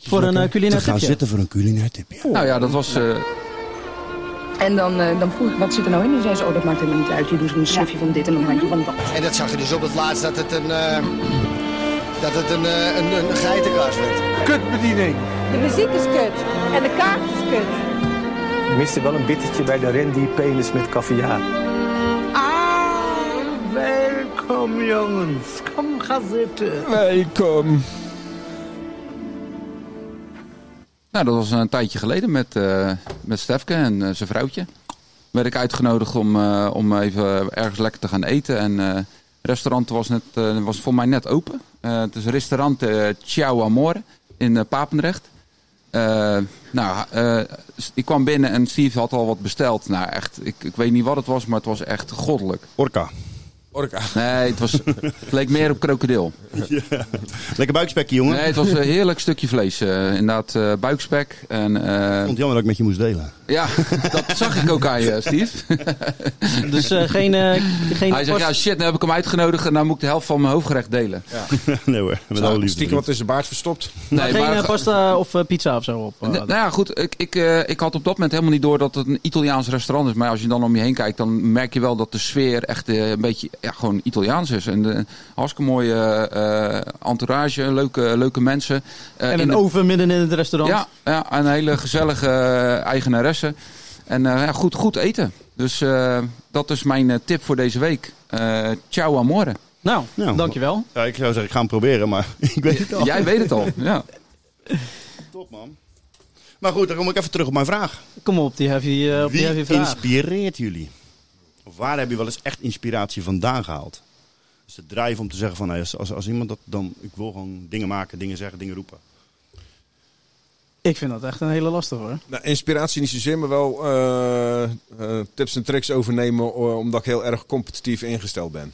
Speaker 1: Voor een eh, culinair
Speaker 2: te gaan
Speaker 1: tipje.
Speaker 2: zitten voor een culinair tipje.
Speaker 4: nou ja, dat was... eh,
Speaker 7: En dan, eh, dan vroeg ik, wat zit er nou in? En zei ze, oh, dat maakt helemaal niet uit. Je doet een snufje van dit en een handje van dat.
Speaker 8: En dat zag je dus op het laatst dat het een, eh, dat het een, eh, een, een geitenkaas werd.
Speaker 9: De muziek is kut en de kaart is kut.
Speaker 10: Ik miste wel een bittertje bij de Randy Penis met caviar. Ah, welkom jongens. Kom ga zitten.
Speaker 5: Welkom.
Speaker 4: Nou, dat was een tijdje geleden met, eh, met Stefke en eh, zijn vrouwtje. Werd ik uitgenodigd om, eh, om even ergens lekker te gaan eten. En eh, het restaurant was, net, eh, was voor mij net open. Eh, het is restaurant eh Ciao Amore in eh, Papendrecht. Eh, nou, eh, ik kwam binnen en Steve had al wat besteld. Nou, echt, ik, ik weet niet wat het was, maar het was echt goddelijk.
Speaker 2: Orca.
Speaker 5: Orka.
Speaker 4: Nee, het, was, het leek meer op krokodil.
Speaker 2: Lekker buikspekje, jongen.
Speaker 4: Nee, het was een heerlijk stukje vlees. eh, inderdaad, eh, buikspek. En, eh,
Speaker 2: Ik vond het jammer dat ik met je moest delen.
Speaker 4: ja, dat zag ik ook aan je, Steve.
Speaker 1: Dus eh, geen, eh, geen
Speaker 4: Hij zegt,
Speaker 1: korst-
Speaker 4: ja shit, nou heb ik hem uitgenodigd en nou moet ik de helft van mijn hoofdgerecht delen.
Speaker 2: nee hoor, met alle liefde.
Speaker 5: Stiekem wat is de baard verstopt.
Speaker 4: Nee,
Speaker 1: geen
Speaker 4: maar-
Speaker 1: eh, pasta of eh, pizza of zo op. eh,
Speaker 4: Nee, nou ja, goed. Ik, ik, eh, ik had op dat moment helemaal niet door dat het een Italiaans restaurant is. Maar als je dan om je heen kijkt, dan merk je wel dat de sfeer echt eh, een beetje ja, gewoon Italiaans is. En eh, hartstikke mooie eh, eh, entourage, leuke, leuke mensen. Eh,
Speaker 1: en
Speaker 4: in
Speaker 1: een
Speaker 4: de-
Speaker 1: oven midden in het restaurant.
Speaker 4: Ja, ja, een hele gezellige eh, eigenaresse. En eh, ja, goed, goed eten. Dus eh, dat is mijn eh, tip voor deze week. Eh, ciao amore.
Speaker 1: Nou,
Speaker 2: Nou,
Speaker 1: dankjewel.
Speaker 2: Ja, ik zou zeggen, ik ga hem proberen, maar ik weet het al.
Speaker 4: Jij weet het al. Ja.
Speaker 2: Top, man. Maar goed, dan kom ik even terug op mijn vraag.
Speaker 1: Kom op, die heavy, eh, op die heavy
Speaker 2: Wie
Speaker 1: vraag.
Speaker 2: inspireert jullie? Of waar heb je wel eens echt inspiratie vandaan gehaald? Dus de drijf om te zeggen van, nou, als, als, als iemand dat dan... Ik wil gewoon dingen maken, dingen zeggen, dingen roepen.
Speaker 1: Ik vind dat echt een hele lastige hoor.
Speaker 5: Nou, inspiratie niet zozeer, maar wel eh, eh, tips en tricks overnemen eh, omdat ik heel erg competitief ingesteld ben.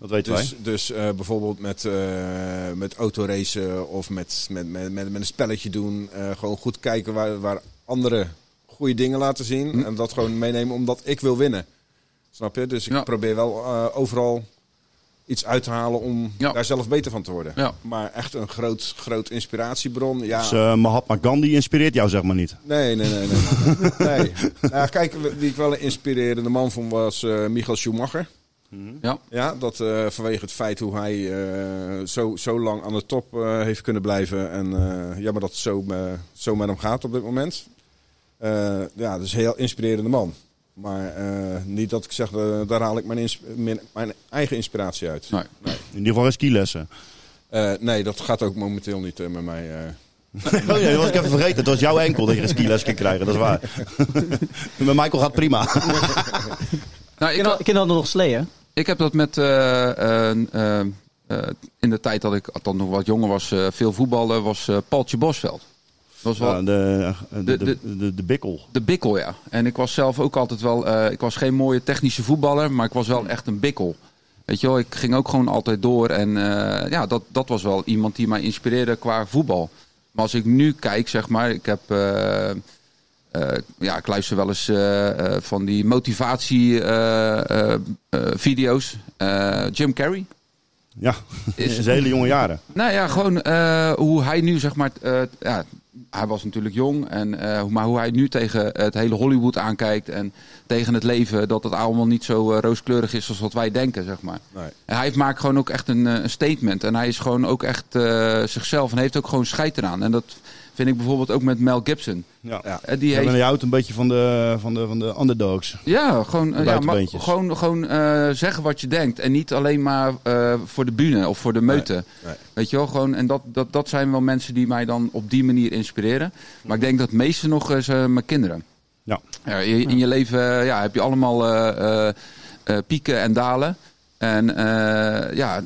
Speaker 2: Dat weten
Speaker 5: Dus,
Speaker 2: wij.
Speaker 5: dus eh, bijvoorbeeld met, eh met autoracen of met, met, met, met, met een spelletje doen. Eh, gewoon goed kijken waar, waar anderen goede dingen laten zien. En dat gewoon meenemen omdat ik wil winnen. Snap je? Dus ik
Speaker 4: Ja.
Speaker 5: probeer wel eh, overal iets uit te halen om
Speaker 4: Ja.
Speaker 5: daar zelf beter van te worden.
Speaker 4: Ja.
Speaker 5: Maar echt een groot, groot inspiratiebron. Ja,
Speaker 2: Dus eh, Mahatma Gandhi inspireert jou zeg maar niet.
Speaker 5: Nee, nee, nee. nee. nee. Nou, kijk, wie ik wel een inspirerende man vond was eh Michael Schumacher.
Speaker 4: Ja.
Speaker 5: Ja, dat eh, vanwege het feit hoe hij eh, zo, zo lang aan de top eh, heeft kunnen blijven. En eh jammer dat het zo, eh, zo met hem gaat op dit moment. Eh, ja, dus een heel inspirerende man. Maar eh, niet dat ik zeg, eh, daar haal ik mijn, ins- mijn, mijn eigen inspiratie uit.
Speaker 4: Nee.
Speaker 2: In ieder geval geen skilessen.
Speaker 5: Eh, nee, dat gaat ook momenteel niet eh, met mij. eh.
Speaker 2: Oh nee, dat was ik even vergeten. Het was jouw enkel dat je een skiles kan krijgen, dat is waar. Met Michael gaat prima.
Speaker 4: Nou,
Speaker 1: Ik
Speaker 4: ik,
Speaker 1: kan, ik kan dat nog sleeën.
Speaker 4: Ik heb dat met. eh, eh, eh, eh, in de tijd dat ik althans nog wat jonger was, eh, veel voetballen, was eh Paltje Bosveld. Dat was wel
Speaker 2: Ja, de, de, de, de, de bikkel.
Speaker 4: de bikkel, ja. En ik was zelf ook altijd wel. eh, ik was geen mooie technische voetballer, maar ik was wel echt een bikkel. Weet je wel, ik ging ook gewoon altijd door. En eh, ja, dat, dat was wel iemand die mij inspireerde qua voetbal. Maar als ik nu kijk, zeg maar, ik heb. eh, eh, ja, ik luister wel eens eh, eh, van die eh, motivatie-video's. Eh, Jim Carrey.
Speaker 2: Ja,
Speaker 4: Is-
Speaker 2: in zijn hele jonge jaren.
Speaker 4: Nou ja, gewoon eh, hoe hij nu, zeg maar. eh, ja, hij was natuurlijk jong, en, eh, maar hoe hij nu tegen het hele Hollywood aankijkt en tegen het leven, dat het allemaal niet zo eh, rooskleurig is als wat wij denken, zeg maar.
Speaker 5: Nee.
Speaker 4: En hij maakt gewoon ook echt een, eh, een statement en hij is gewoon ook echt eh, zichzelf en heeft ook gewoon scheid eraan. En dat vind ik bijvoorbeeld ook met Mel Gibson.
Speaker 2: Ja.
Speaker 5: Ja.
Speaker 4: Eh, die
Speaker 2: Ja,
Speaker 4: heeft
Speaker 2: maar je houdt een beetje van de, van de, van de underdogs.
Speaker 4: ja, gewoon, eh, ja, maar
Speaker 2: Buitenbeentjes.
Speaker 4: gewoon, gewoon eh, zeggen wat je denkt. En niet alleen maar eh, voor de bühne of voor de meute.
Speaker 5: nee.
Speaker 4: Weet je wel, gewoon, en dat, dat, dat zijn wel mensen die mij dan op die manier inspireren. Maar ik denk dat het meeste nog eh, zijn mijn kinderen.
Speaker 2: Ja.
Speaker 4: Ja, in in je leven eh, ja, heb je allemaal eh, eh, eh, pieken en dalen. En eh, ja,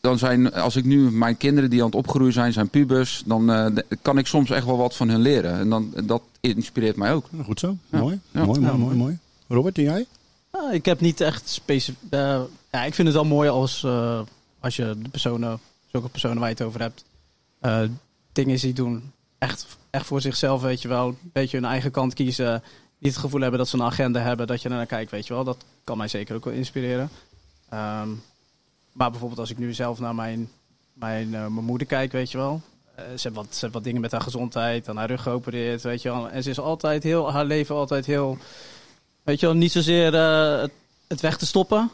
Speaker 4: dan zijn, als ik nu mijn kinderen die aan het opgroeien zijn, zijn pubers, dan eh, de- kan ik soms echt wel wat van hun leren. En dan, dat inspireert mij ook.
Speaker 2: Goed zo.
Speaker 4: Ja.
Speaker 2: Mooi.
Speaker 4: Ja.
Speaker 2: Mooi, mooi,
Speaker 1: Ja.
Speaker 2: mooi, mooi. Robert, en jij?
Speaker 1: Ah, ik heb niet echt specifiek. eh, ja, ik vind het wel mooi als, eh, als je de eh, personen, zulke personen waar je het over hebt, eh, dingen ziet doen. Echt, echt voor zichzelf, weet je wel. Een beetje hun eigen kant kiezen. Niet het gevoel hebben dat ze een agenda hebben, dat je naar kijkt, weet je wel. Dat kan mij zeker ook wel inspireren. Ehm, maar bijvoorbeeld als ik nu zelf naar mijn, mijn, eh, mijn moeder kijk, weet je wel. Eh, ze, heeft wat, ze heeft wat dingen met haar gezondheid, aan haar rug geopereerd, weet je wel. En ze is altijd heel, haar leven altijd heel Weet je wel, niet zozeer eh, het, het weg te stoppen.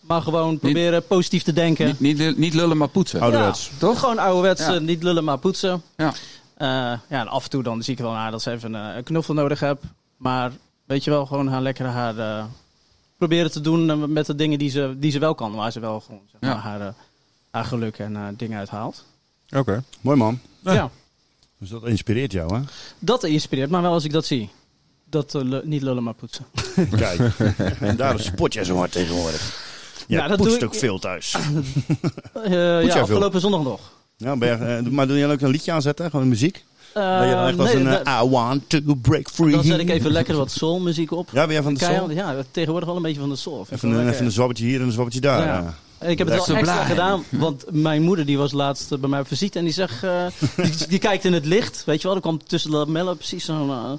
Speaker 1: Maar gewoon proberen positief te denken.
Speaker 4: Niet, niet, niet lullen, maar
Speaker 5: Oh,
Speaker 4: poetsen.
Speaker 2: Ouderwets.
Speaker 1: Ja,
Speaker 4: Toch?
Speaker 1: Gewoon ouderwets,
Speaker 4: Ja.
Speaker 1: eh, niet lullen, maar poetsen.
Speaker 4: Ja.
Speaker 1: Eh, ja, en af en toe dan zie ik wel naar dat ze even eh, een knuffel nodig heb. Maar weet je wel, gewoon haar lekker haar eh, proberen te doen eh, met de dingen die ze, die ze wel kan. Waar ze wel gewoon zeg maar,
Speaker 4: Ja.
Speaker 1: haar, eh, haar geluk en eh, dingen uithaalt.
Speaker 5: Oké.
Speaker 2: Mooi man.
Speaker 1: Ja,
Speaker 2: Dus dat inspireert jou, hè?
Speaker 1: dat inspireert me wel als ik dat zie. Dat eh, lu- niet lullen, maar poetsen.
Speaker 2: Kijk. en daarom spot jij zo hard tegenwoordig. Ja,
Speaker 1: Ja, dat
Speaker 2: poetst
Speaker 1: doe ik-
Speaker 2: ook veel thuis.
Speaker 1: Eh, ja,
Speaker 2: veel?
Speaker 1: afgelopen zondag nog.
Speaker 2: Ja, ben je, eh, maar doe jij ook een liedje aanzetten? Gewoon muziek? dat je dan echt als
Speaker 1: nee,
Speaker 2: een eh,
Speaker 1: dat-
Speaker 2: I want to break free.
Speaker 1: Dan zet ik even lekker wat soulmuziek op.
Speaker 2: Ja, ben jij van de
Speaker 1: Keihard-
Speaker 2: soul?
Speaker 1: Ja, tegenwoordig wel een beetje van de soul. Vind ik
Speaker 2: Even
Speaker 1: wel
Speaker 2: een,
Speaker 1: lekker.
Speaker 2: even een zwabbetje hier en een zwabbetje daar.
Speaker 1: Ja.
Speaker 2: ja.
Speaker 1: Ik heb het
Speaker 2: Lekker
Speaker 1: wel extra
Speaker 2: blij.
Speaker 1: gedaan, want mijn moeder die was laatst eh, bij mij op visite en die zegt, eh, die, die kijkt in het licht, weet je wel, er kwam tussen de lamellen precies zo'n... eh,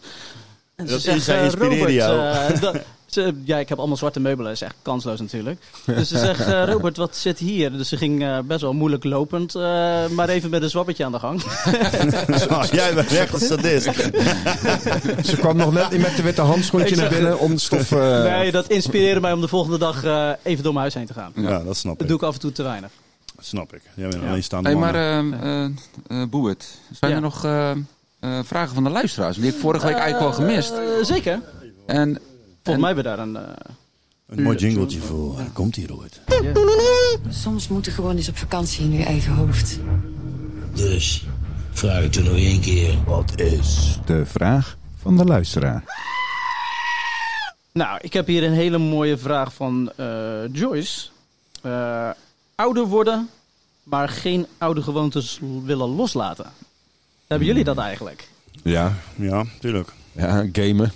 Speaker 1: en
Speaker 2: Dat is- hij
Speaker 1: eh,
Speaker 2: inspireerde jou.
Speaker 1: eh, dat- ze- ja, ik heb allemaal zwarte meubelen, dat is echt kansloos natuurlijk. Dus ze zegt, eh, Robert, wat zit hier? Dus ze ging eh, best wel moeilijk lopend, eh, maar even met een zwabbetje aan de gang.
Speaker 2: Ah, jij bent echt een sadist.
Speaker 5: Ze kwam nog net niet met de witte handschoentje
Speaker 1: Ik
Speaker 5: naar
Speaker 1: zag
Speaker 5: binnen om de stof... eh,
Speaker 1: Nee, dat inspireerde mij om de volgende dag eh, even door mijn huis heen te gaan.
Speaker 2: Ja, dat snap
Speaker 1: Dat
Speaker 2: ik.
Speaker 1: doe ik af en toe te weinig.
Speaker 2: Dat snap ik. Jij bent
Speaker 1: Ja.
Speaker 2: alleen staande
Speaker 4: Hey,
Speaker 2: man.
Speaker 4: maar eh eh, eh, Boert, zijn
Speaker 1: Ja.
Speaker 4: er nog eh, eh, vragen van de luisteraars? Die heb ik vorige week eigenlijk wel gemist.
Speaker 1: Eh, zeker.
Speaker 4: En
Speaker 1: Volgens mij hebben we daar een... eh,
Speaker 2: Een mooi jingletje voor. Komt hier, Robert.
Speaker 11: Soms moeten gewoon eens op vakantie in je eigen hoofd.
Speaker 12: Dus, vraag het er nog één keer. Wat is?
Speaker 5: De vraag van de luisteraar.
Speaker 1: Nou, ik heb hier een hele mooie vraag van eh, Joyce. Eh, ouder worden, maar geen oude gewoontes l- willen loslaten. Hebben jullie dat eigenlijk?
Speaker 5: Ja.
Speaker 2: Ja, tuurlijk.
Speaker 5: Ja, gamen.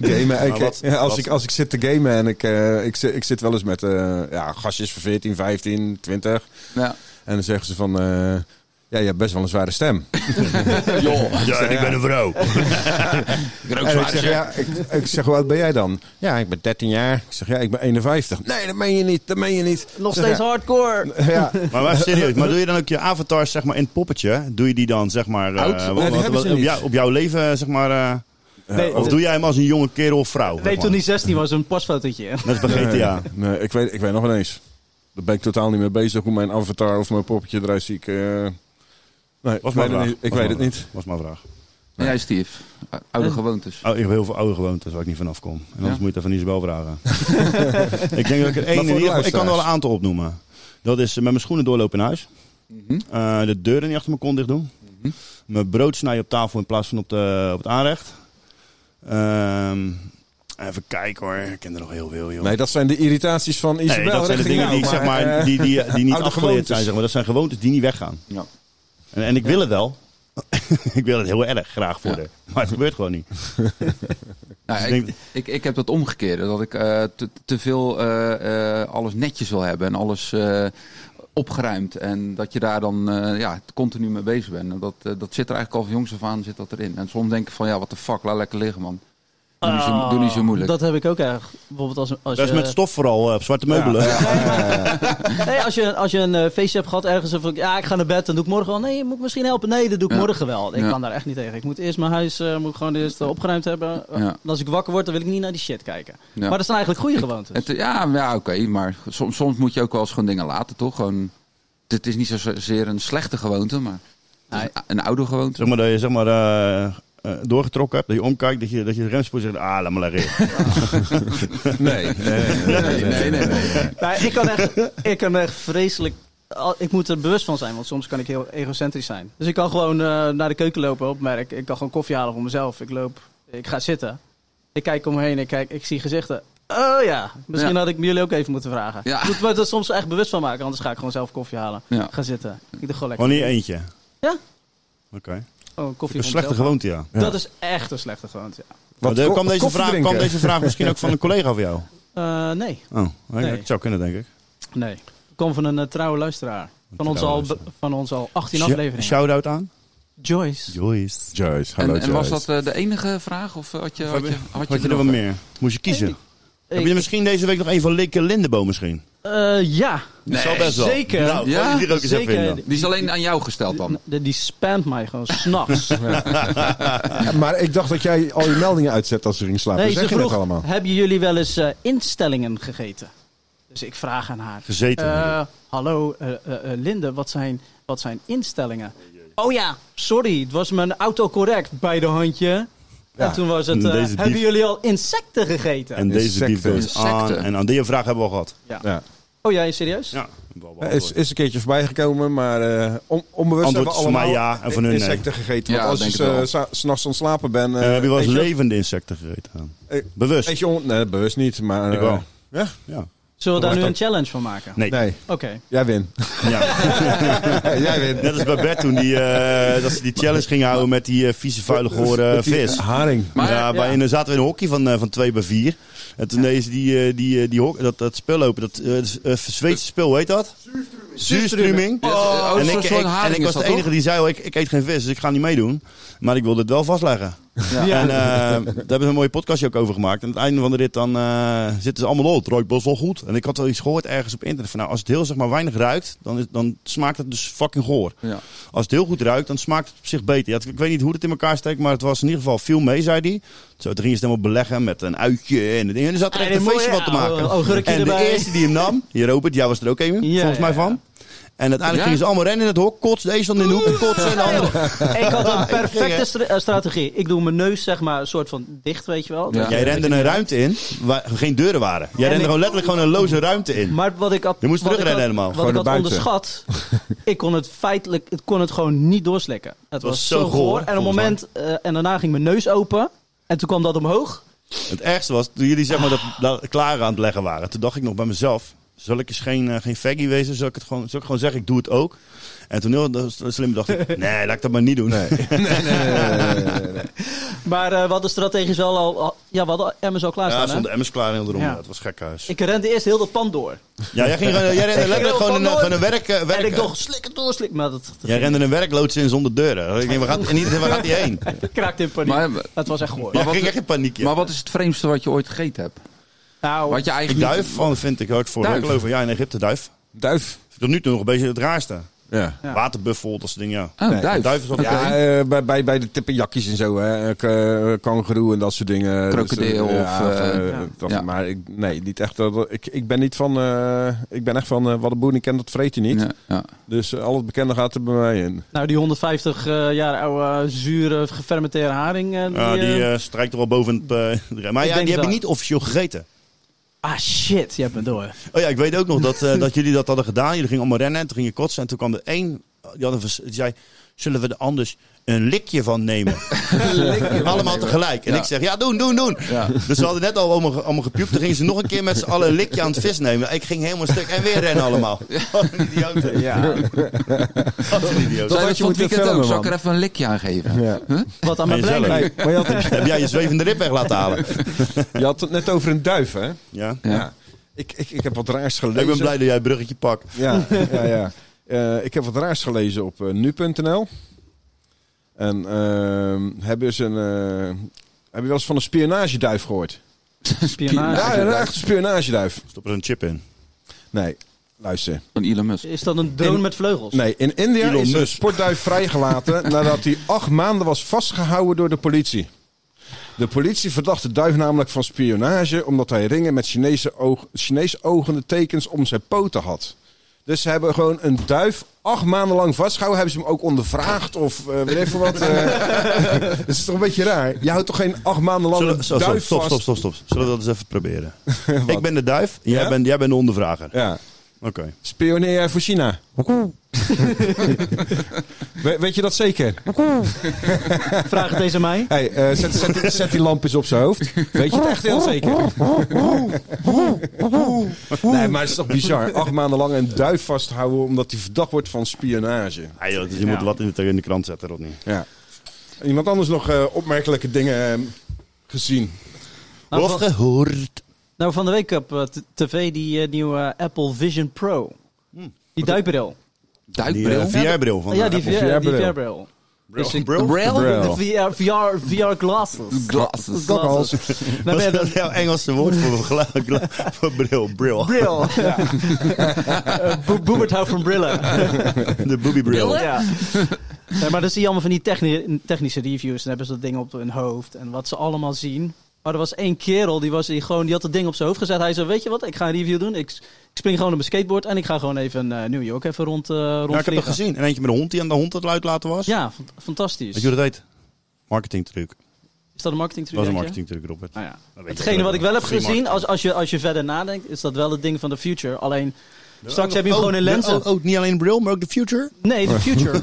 Speaker 5: gamen. Ik,
Speaker 2: Maar wat-
Speaker 5: ja, als,
Speaker 2: wat-
Speaker 5: Ik, als ik zit te gamen en ik, eh, ik, zit, ik zit wel eens met eh, ja, gastjes van 14, 15, 20.
Speaker 4: Ja.
Speaker 5: En dan zeggen ze van... eh, ja, je hebt best wel een zware stem.
Speaker 2: Ja, en ik ben een vrouw.
Speaker 5: En ik zeg, ja, ik, ik zeg, hoe oud ben jij dan? Ja, ik ben 13 jaar. Ik zeg, ja, ik ben 51. Nee, dat meen je niet, dat meen je niet.
Speaker 1: Nog
Speaker 5: Ik zeg,
Speaker 1: steeds
Speaker 5: ja,
Speaker 1: hardcore.
Speaker 5: Ja,
Speaker 2: Maar, maar serieus, maar doe je dan ook je avatars zeg maar, in het poppetje? Doe je die dan zeg maar, eh,
Speaker 5: Oud? Nee, die
Speaker 2: wat-
Speaker 5: hebben
Speaker 2: wat-
Speaker 5: ze
Speaker 2: op,
Speaker 5: niet.
Speaker 2: jou- op jouw leven zeg maar... eh,
Speaker 1: Nee,
Speaker 2: of
Speaker 1: eh,
Speaker 2: doe jij hem als een jonge kerel of vrouw? zeg
Speaker 1: nee,
Speaker 2: maar?
Speaker 1: toen hij 16 was, een pasfotootje.
Speaker 2: Net als bij GTA.
Speaker 5: eh, Nee, ik weet, ik weet nog ineens. Daar ben ik totaal niet mee bezig hoe mijn avatar of mijn poppetje eruit ziet. Ik, eh, nee, ik
Speaker 2: Was
Speaker 5: weet
Speaker 2: mijn
Speaker 5: het
Speaker 2: vraag.
Speaker 5: niet. Ik
Speaker 2: Was
Speaker 5: weet
Speaker 2: mijn
Speaker 5: het
Speaker 2: vraag.
Speaker 5: niet.
Speaker 2: Was mijn vraag.
Speaker 4: en jij, Steve, oude gewoontes.
Speaker 2: Oh, ik heb heel veel oude gewoontes waar ik niet vanaf kom. En anders moet
Speaker 4: Ja.
Speaker 2: je het even aan Isabel vragen. ik denk dat ik er één in
Speaker 5: voor de
Speaker 2: ieder geval- Ik kan er wel
Speaker 5: luisteraars.
Speaker 2: een aantal opnoemen. Dat is eh, met mijn schoenen doorlopen in huis.
Speaker 5: Mhm.
Speaker 2: Eh, de deuren niet achter mijn kont dicht doen. Mijn brood snijden op tafel in plaats van op, de, op het aanrecht. Ehm, even kijken hoor. Ik ken er nog heel veel, joh.
Speaker 5: Nee, dat zijn de irritaties van Isabel.
Speaker 2: Nee, dat zijn de
Speaker 5: richting
Speaker 2: dingen die,
Speaker 5: jou,
Speaker 2: zeg maar,
Speaker 5: eh,
Speaker 2: die, die, die niet
Speaker 5: oude
Speaker 2: afgeleerd zijn.
Speaker 5: gewoontes.
Speaker 2: Zeg maar. Dat zijn gewoontes die niet weggaan.
Speaker 4: Ja.
Speaker 2: En, en ik wil het wel. ik wil het heel erg graag voor de. Maar het gebeurt gewoon niet.
Speaker 4: Nou,
Speaker 2: Dus ik
Speaker 4: ik,
Speaker 2: denk-
Speaker 4: ik, ik heb dat omgekeerde. Dat ik eh, te, te veel eh, eh, alles netjes wil hebben en alles eh, opgeruimd. En dat je daar dan eh, ja, continu mee bezig bent. En dat, eh, dat zit er eigenlijk al van jongs af aan zit dat erin. En soms denk ik van ja, wat de fuck, laat lekker liggen man. Doe niet zo, doe niet zo moeilijk.
Speaker 1: Oh, Dat heb ik ook erg. Bijvoorbeeld als, als
Speaker 2: Dat is
Speaker 1: je...
Speaker 2: met stof vooral, eh, op zwarte meubelen.
Speaker 1: Nee, als je, als je een eh, feestje hebt gehad ergens en van ja, ik ga naar bed, dan doe ik morgen wel. Nee, je moet ik misschien helpen. Nee, dat doe ik
Speaker 4: Ja.
Speaker 1: morgen wel. Ik
Speaker 4: Ja.
Speaker 1: kan daar echt niet tegen. Ik moet eerst mijn huis eh, moet ik gewoon eerst eh, opgeruimd hebben.
Speaker 4: Ja.
Speaker 1: En als ik wakker word, dan wil ik niet naar die shit kijken.
Speaker 4: Ja.
Speaker 1: Maar dat zijn eigenlijk goede gewoontes.
Speaker 4: Het, ja, ja oké, maar soms, soms moet je ook wel eens gewoon dingen laten, toch? Gewoon, het is niet zozeer een slechte gewoonte, maar het is een, een oude gewoonte.
Speaker 2: Zeg maar dat je zeg maar, eh, eh, doorgetrokken hebt, dat je omkijkt, dat je, dat je de remspoor zegt, ah, laat maar liggen.
Speaker 5: Nee, nee, nee.
Speaker 4: Nee, nee, nee.
Speaker 1: Nou, ik kan echt, ik kan echt vreselijk. al- Ik moet er bewust van zijn, want soms kan ik heel egocentrisch zijn. Dus ik kan gewoon eh, naar de keuken lopen op merk. Ik kan gewoon koffie halen voor mezelf. Ik loop, ik ga zitten. Ik kijk om me heen, ik, kijk, ik zie gezichten. Oh ja, misschien
Speaker 4: Ja.
Speaker 1: had ik jullie ook even moeten vragen.
Speaker 4: Ja.
Speaker 1: Ik moet me er soms echt bewust van maken, anders ga ik gewoon zelf koffie halen.
Speaker 4: Ja.
Speaker 1: Ga zitten. Ik doe gewoon lekker.
Speaker 2: Gewoon Oh, niet eentje.
Speaker 1: Ja.
Speaker 2: Oké.
Speaker 1: Oh, een koffie
Speaker 2: Een
Speaker 1: voor
Speaker 2: slechte
Speaker 1: mezelf.
Speaker 2: gewoonte, ja.
Speaker 1: Dat is echt een slechte gewoonte. Ja.
Speaker 5: Wat,
Speaker 2: Maar
Speaker 5: ko-
Speaker 2: kwam, deze
Speaker 5: koffie
Speaker 2: vraag,
Speaker 5: drinken?
Speaker 2: kwam deze vraag misschien ook van een collega van jou?
Speaker 1: Eh, nee,
Speaker 2: Oh, ik-
Speaker 1: Nee.
Speaker 2: het zou kunnen, denk ik.
Speaker 1: nee. Ik kom van een eh, trouwe luisteraar. Van ons,
Speaker 2: trouwe
Speaker 1: al, be- van ons al 18
Speaker 2: Sh-
Speaker 1: afleveringen.
Speaker 2: Shout-out aan?
Speaker 1: Joyce.
Speaker 2: Joyce.
Speaker 5: Joyce, hallo
Speaker 4: En, en was
Speaker 5: Joyce.
Speaker 4: dat eh, de enige vraag? Of eh, had je, had je, had je,
Speaker 2: Had je er
Speaker 4: nog-
Speaker 2: wat meer? Moest je kiezen? Heb je er misschien deze week nog een van Likke Lindeboom misschien?
Speaker 1: Eh, ja,
Speaker 2: Dat zou best wel.
Speaker 1: zeker.
Speaker 2: Nou,
Speaker 4: Ja,
Speaker 2: gooi die er ook eens even
Speaker 1: zeker.
Speaker 2: in dan.
Speaker 4: Die is alleen aan jou gesteld dan.
Speaker 1: Die, die spamt mij gewoon s'nachts.
Speaker 5: Ja, maar ik dacht dat jij al je meldingen uitzet als ze ging slapen.
Speaker 1: nee,
Speaker 5: Nee,
Speaker 1: ze
Speaker 5: zeg je dat
Speaker 1: vroeg,
Speaker 5: allemaal?
Speaker 1: hebben jullie wel eens eh, instellingen gegeten? Dus ik vraag aan haar.
Speaker 2: Gezeten.
Speaker 1: eh, hallo, eh, eh, eh, Linde, wat zijn, wat zijn instellingen? Oh ja, sorry, het was mijn autocorrect bij de handje.
Speaker 5: Ja,
Speaker 1: En toen was het, eh,
Speaker 2: deze
Speaker 1: hebben
Speaker 2: dief-
Speaker 1: jullie al insecten gegeten?
Speaker 2: en deze dief
Speaker 5: Insecten.
Speaker 2: goes aan.
Speaker 4: Insecten.
Speaker 2: En aan die vraag hebben we al gehad.
Speaker 5: Ja.
Speaker 1: Oh ja, serieus?
Speaker 2: Ja. Oh,
Speaker 5: Is, is een keerje voorbij gekomen, maar eh, on-
Speaker 2: Antwoord
Speaker 5: onbewust
Speaker 2: van
Speaker 5: hebben we
Speaker 2: mij
Speaker 5: allemaal
Speaker 2: ja en van hun nee.
Speaker 5: insecten gegeten.
Speaker 4: Ja,
Speaker 5: Want
Speaker 4: denk
Speaker 5: als eh,
Speaker 4: ik wel.
Speaker 5: je s'nachts ontslapen bent...
Speaker 2: Eh,
Speaker 5: eh,
Speaker 2: Heb je wel eens
Speaker 5: eet je-
Speaker 2: levende insecten gegeten?
Speaker 5: Eh,
Speaker 2: Bewust.
Speaker 5: eet je on- Nee, bewust niet, maar...
Speaker 2: Ik
Speaker 5: eh,
Speaker 2: wel.
Speaker 5: Ja?
Speaker 2: Ja.
Speaker 1: Zullen we daar
Speaker 5: Dan
Speaker 1: nu een
Speaker 5: wordt
Speaker 1: challenge van maken?
Speaker 2: Nee.
Speaker 1: Oké.
Speaker 5: Jij win. Jij wint.
Speaker 2: Net als bij Bert toen die, eh, dat ze die challenge ging houden met die eh, vieze, vuile, gore eh,
Speaker 5: Met die Ah.
Speaker 2: vis.
Speaker 5: haring.
Speaker 2: Maar, eh, ja, bij, en dan zaten we in een hokje van, eh, van 2 bij 4. En toen deed ze die, eh, die, eh, die hok, dat, dat spul open. Dat eh, eh, Zweedse spul, hoe heet dat? Zuurstruming.
Speaker 4: Ja, oh,
Speaker 2: en,
Speaker 4: zo'n
Speaker 2: ik,
Speaker 4: soort
Speaker 2: ik- en
Speaker 4: haring
Speaker 2: ik
Speaker 4: is
Speaker 2: was
Speaker 4: dat,
Speaker 2: de enige
Speaker 4: toch?
Speaker 2: die zei, oh, ik, ik eet geen vis, dus ik ga niet meedoen. Maar ik wilde het wel vastleggen.
Speaker 4: Ja.
Speaker 2: En eh, daar hebben we een mooie podcastje ook over gemaakt. En aan het einde van de rit dan eh, zitten ze allemaal op. Het ruikt best wel goed. En ik had wel iets gehoord ergens op internet. Van, nou, als het heel zeg maar weinig ruikt, dan, is, dan smaakt het dus fucking goor.
Speaker 4: Ja.
Speaker 2: Als het heel goed ruikt, dan smaakt het op zich beter. Ja, het- ik weet niet hoe het in elkaar steekt, maar het was in ieder geval veel mee, zei hij. Zo, toen ging ze het helemaal beleggen met een uitje en het ding. En er zat er
Speaker 1: En
Speaker 2: echt een
Speaker 1: een
Speaker 2: feestje
Speaker 1: mooie
Speaker 2: van te maken.
Speaker 1: augurkje
Speaker 2: en de
Speaker 1: erbij.
Speaker 2: eerste die hem nam, hier Robert, jij was er ook een, volgens mij van. En uiteindelijk
Speaker 1: Ja?
Speaker 2: gingen ze allemaal rennen in het hok. Kots, de een stond in de hoek en kots en de andere.
Speaker 1: Ik had een
Speaker 2: ging, hè?
Speaker 1: perfecte stra- eh, strategie. Ik doe mijn neus zeg maar een soort van dicht, weet je wel. Dat je-
Speaker 2: Jij rende een ruimte in waar geen deuren waren. Jij rende
Speaker 1: ik-
Speaker 2: gewoon letterlijk gewoon een loze ruimte in.
Speaker 1: Maar wat ik had,
Speaker 2: Je moest
Speaker 1: wat ik
Speaker 2: terugrennen
Speaker 1: had-
Speaker 2: helemaal.
Speaker 1: Wat
Speaker 2: Gewoon
Speaker 1: ik had
Speaker 2: naar buiten.
Speaker 1: onderschat, ik kon het feitelijk, het kon het gewoon niet doorslikken. Het, was, zo goor. En op een
Speaker 2: volgens mij.
Speaker 1: moment, eh, en daarna ging mijn neus open. En toen kwam dat omhoog.
Speaker 2: Het ergste was, toen jullie zeg maar dat,
Speaker 1: Ah.
Speaker 2: dat klaar aan het leggen waren, toen dacht ik nog bij mezelf, zal ik eens geen, eh, geen faggy wezen? Zal ik, het gewoon, zal ik gewoon zeggen, ik doe het ook? En toen heel dat- slim dacht ik, nee, laat ik dat maar niet doen.
Speaker 1: Maar eh we hadden strategisch wel al, al- ja, we hadden emmers al
Speaker 2: Ja,
Speaker 1: klaarstaan.
Speaker 2: er
Speaker 1: hè?
Speaker 2: stonden emmers klaar in de ronde.
Speaker 1: Ja.
Speaker 2: Het was gekhuis.
Speaker 1: Ik rende eerst heel dat pand door.
Speaker 2: Ja, jij, ging, gewoon- jij
Speaker 1: Ik ging
Speaker 2: rende
Speaker 1: heel
Speaker 2: letterlijk gewoon
Speaker 1: pand
Speaker 2: een,
Speaker 1: door.
Speaker 2: gewoon een werk, eh, werk-
Speaker 1: En ik dacht, slikken door, slikken. Maar dat,
Speaker 2: Jij rende een werkloods in zonder deuren. Ik denk, waar gaat, en niet, waar gaat die heen?
Speaker 1: ik raakte in paniek.
Speaker 4: Maar-
Speaker 1: het was echt goor.
Speaker 2: Maar ik ging echt in paniek, ja.
Speaker 4: Maar wat is het vreemdste wat je ooit gegeten hebt?
Speaker 1: Nou,
Speaker 4: Wat je
Speaker 2: Ik
Speaker 4: eigenlijk
Speaker 2: duif van vind ik hard voor.
Speaker 4: Duif.
Speaker 2: Ik geloof ja, in Egypte duif.
Speaker 5: Duif.
Speaker 2: Tot nu toe nog een beetje het raarste.
Speaker 5: Ja.
Speaker 1: Ja. Ah.
Speaker 2: Waterbuffel, dat soort dingen, ja.
Speaker 4: Oh,
Speaker 5: Nee,
Speaker 4: duif.
Speaker 2: Duif is ook
Speaker 4: Oké.
Speaker 5: Ja, eh, bij, bij, bij de tippenjakjes en zo, hè. K- eh, kangoeroe en dat soort dingen.
Speaker 4: Krokodil
Speaker 5: eh,
Speaker 4: of,
Speaker 5: van, eh,
Speaker 4: eh,
Speaker 5: dat-
Speaker 4: ja.
Speaker 5: Maar ik, nee, niet echt. dat- ik, ik ben niet van... eh, ik ben echt van, eh, wat de boer niet kent, dat vreet hij niet.
Speaker 4: Ja, ja.
Speaker 5: Dus eh, al het bekende gaat er bij mij in.
Speaker 1: nou, die 150 eh, jaar oude zure gefermenteerde haring. eh, die,
Speaker 2: Ja, die
Speaker 1: eh,
Speaker 2: eh, strijkt er wel boven het... eh, de rij. maar
Speaker 1: Ik
Speaker 2: ja, die heb
Speaker 1: denk het
Speaker 2: ik
Speaker 1: wel.
Speaker 2: niet officieel gegeten.
Speaker 1: Ah shit, je hebt me door.
Speaker 2: Oh ja, ik weet ook nog dat, eh, dat jullie dat hadden gedaan. Jullie gingen allemaal rennen en toen gingen kotsen. En toen kwam er één, die, had een vers- die zei, zullen we er anders een likje van nemen? allemaal tegelijk. En
Speaker 4: Ja.
Speaker 2: ik zeg, ja, doen, doen, doen.
Speaker 4: Ja.
Speaker 2: Dus ze hadden net al allemaal, ge- allemaal gepiept. Toen gingen ze nog een keer met z'n allen een likje aan het vis nemen. Ik ging helemaal stuk en weer rennen allemaal. Wat een idioot. Ja. Wat een idioot.
Speaker 4: Zij dat
Speaker 5: had je
Speaker 4: van het
Speaker 5: moeten
Speaker 4: weekend ook.
Speaker 5: filmen,
Speaker 4: Zal ik
Speaker 5: man.
Speaker 4: er even een likje aan geven?
Speaker 5: Ja.
Speaker 4: Huh?
Speaker 1: Wat aan
Speaker 2: Aan
Speaker 1: mijn
Speaker 2: jezelf.
Speaker 1: brengen.
Speaker 5: Nee, maar je had,
Speaker 2: Heb jij je zwevende rib weg laten halen?
Speaker 5: je had het net over een duif, hè?
Speaker 2: Ja.
Speaker 4: Ja.
Speaker 5: Ik, ik, ik heb wat raars gelezen.
Speaker 2: Ik ben blij dat jij het bruggetje pakt.
Speaker 5: Ja, ja, ja. Eh, ik heb wat raars gelezen op eh, nu.nl. En ehm, hebben ze een. eh, heb je wel eens van een spionageduif gehoord? ja,
Speaker 1: Spionage.
Speaker 5: een echte spionageduif.
Speaker 2: Stop er een chip in.
Speaker 5: Nee, luister.
Speaker 4: Van Elon Musk.
Speaker 1: Is dat een drone
Speaker 5: In-
Speaker 1: met vleugels?
Speaker 5: Nee, in India
Speaker 2: Elon
Speaker 5: is een
Speaker 2: Musk.
Speaker 5: sportduif vrijgelaten nadat hij acht maanden was vastgehouden door de politie. De politie verdacht de duif namelijk van spionage omdat hij ringen met Chinese oog, Chinees ogende tekens om zijn poten had. Dus ze hebben gewoon een duif acht maanden lang vastgehouden. Hebben ze hem ook ondervraagd of eh weet even wat. eh. dat is toch een beetje raar? Je houdt toch geen acht maanden lang
Speaker 2: Zullen,
Speaker 5: een
Speaker 2: zo, stop,
Speaker 5: duif
Speaker 2: stop,
Speaker 5: vast?
Speaker 2: stop, stop, stop. Zullen we dat eens even proberen? ik ben de duif, jij,
Speaker 5: Ja?
Speaker 2: bent, jij bent de ondervrager.
Speaker 5: Ja.
Speaker 2: Oké.
Speaker 5: Spioneer jij voor China? We- weet je dat zeker?
Speaker 1: Vraag het eens aan mij.
Speaker 5: Hey, eh, zet, zet- zet die lamp eens op zijn hoofd. Weet je het echt heel zeker? nee, maar het is toch bizar. Acht maanden lang een duif vasthouden omdat hij verdacht wordt van spionage.
Speaker 2: Ah, joh, dus je moet wat in de, in de krant zetten, Rodney.
Speaker 5: Ja. Iemand anders nog eh, opmerkelijke dingen eh, gezien?
Speaker 1: Nou,
Speaker 2: Of
Speaker 1: van,
Speaker 2: gehoord.
Speaker 1: nou, van de week op eh, t- tv die eh, nieuwe Apple Vision Pro. Die duikbril.
Speaker 2: Hmm. eh, Die
Speaker 4: Duikbril.
Speaker 2: VR-bril van
Speaker 1: ja,
Speaker 2: de
Speaker 1: die
Speaker 2: Apple.
Speaker 1: VR-bril.
Speaker 5: VR-bril.
Speaker 1: Dus ik,
Speaker 2: Bril?
Speaker 4: Bril.
Speaker 1: De VR, VR, VR glasses. Nou,
Speaker 4: Glasses.
Speaker 1: Glasses. Dan ben
Speaker 2: Wat
Speaker 1: je
Speaker 2: is
Speaker 1: dat-
Speaker 2: dat jouw Engelse woord voor, gla- gla- voor bril? Bril.
Speaker 1: Bril. Eh, Bo- Boebert houdt van brillen.
Speaker 2: De boobiebril.
Speaker 1: Ja. Nee, maar dan zie je allemaal van die techni- technische reviews. Dan hebben ze dat ding op hun hoofd. En wat ze allemaal zien. Maar er was één kerel die, was, die, gewoon, die had dat ding op zijn hoofd gezet. Hij zei, weet je wat, ik ga een review doen. Ik, s- ik spring gewoon op mijn skateboard. En ik ga gewoon even eh, New York even rond, eh
Speaker 2: Ja, ik heb dat
Speaker 1: rondvliegen.
Speaker 2: gezien. En eentje met een hond die aan de hond het luid laten was.
Speaker 1: Ja, fan- fantastisch.
Speaker 2: Weet je hoe dat heet? Marketingtruc.
Speaker 1: Is dat een marketingtruc?
Speaker 2: Dat was een
Speaker 1: denk je?
Speaker 2: marketingtruc, Robert.
Speaker 4: Ah,
Speaker 1: Nou ja.
Speaker 2: Dat weet
Speaker 1: Hetgene wat ik wel heb
Speaker 2: Free
Speaker 1: gezien,
Speaker 2: marketing.
Speaker 1: als, als, je, als je verder nadenkt, is dat wel het ding van de future. Alleen, straks heb je hem
Speaker 2: Oh,
Speaker 1: gewoon in
Speaker 2: de-
Speaker 1: lenzen.
Speaker 2: oh, oh, niet alleen bril, maar ook de future?
Speaker 1: Nee, de future.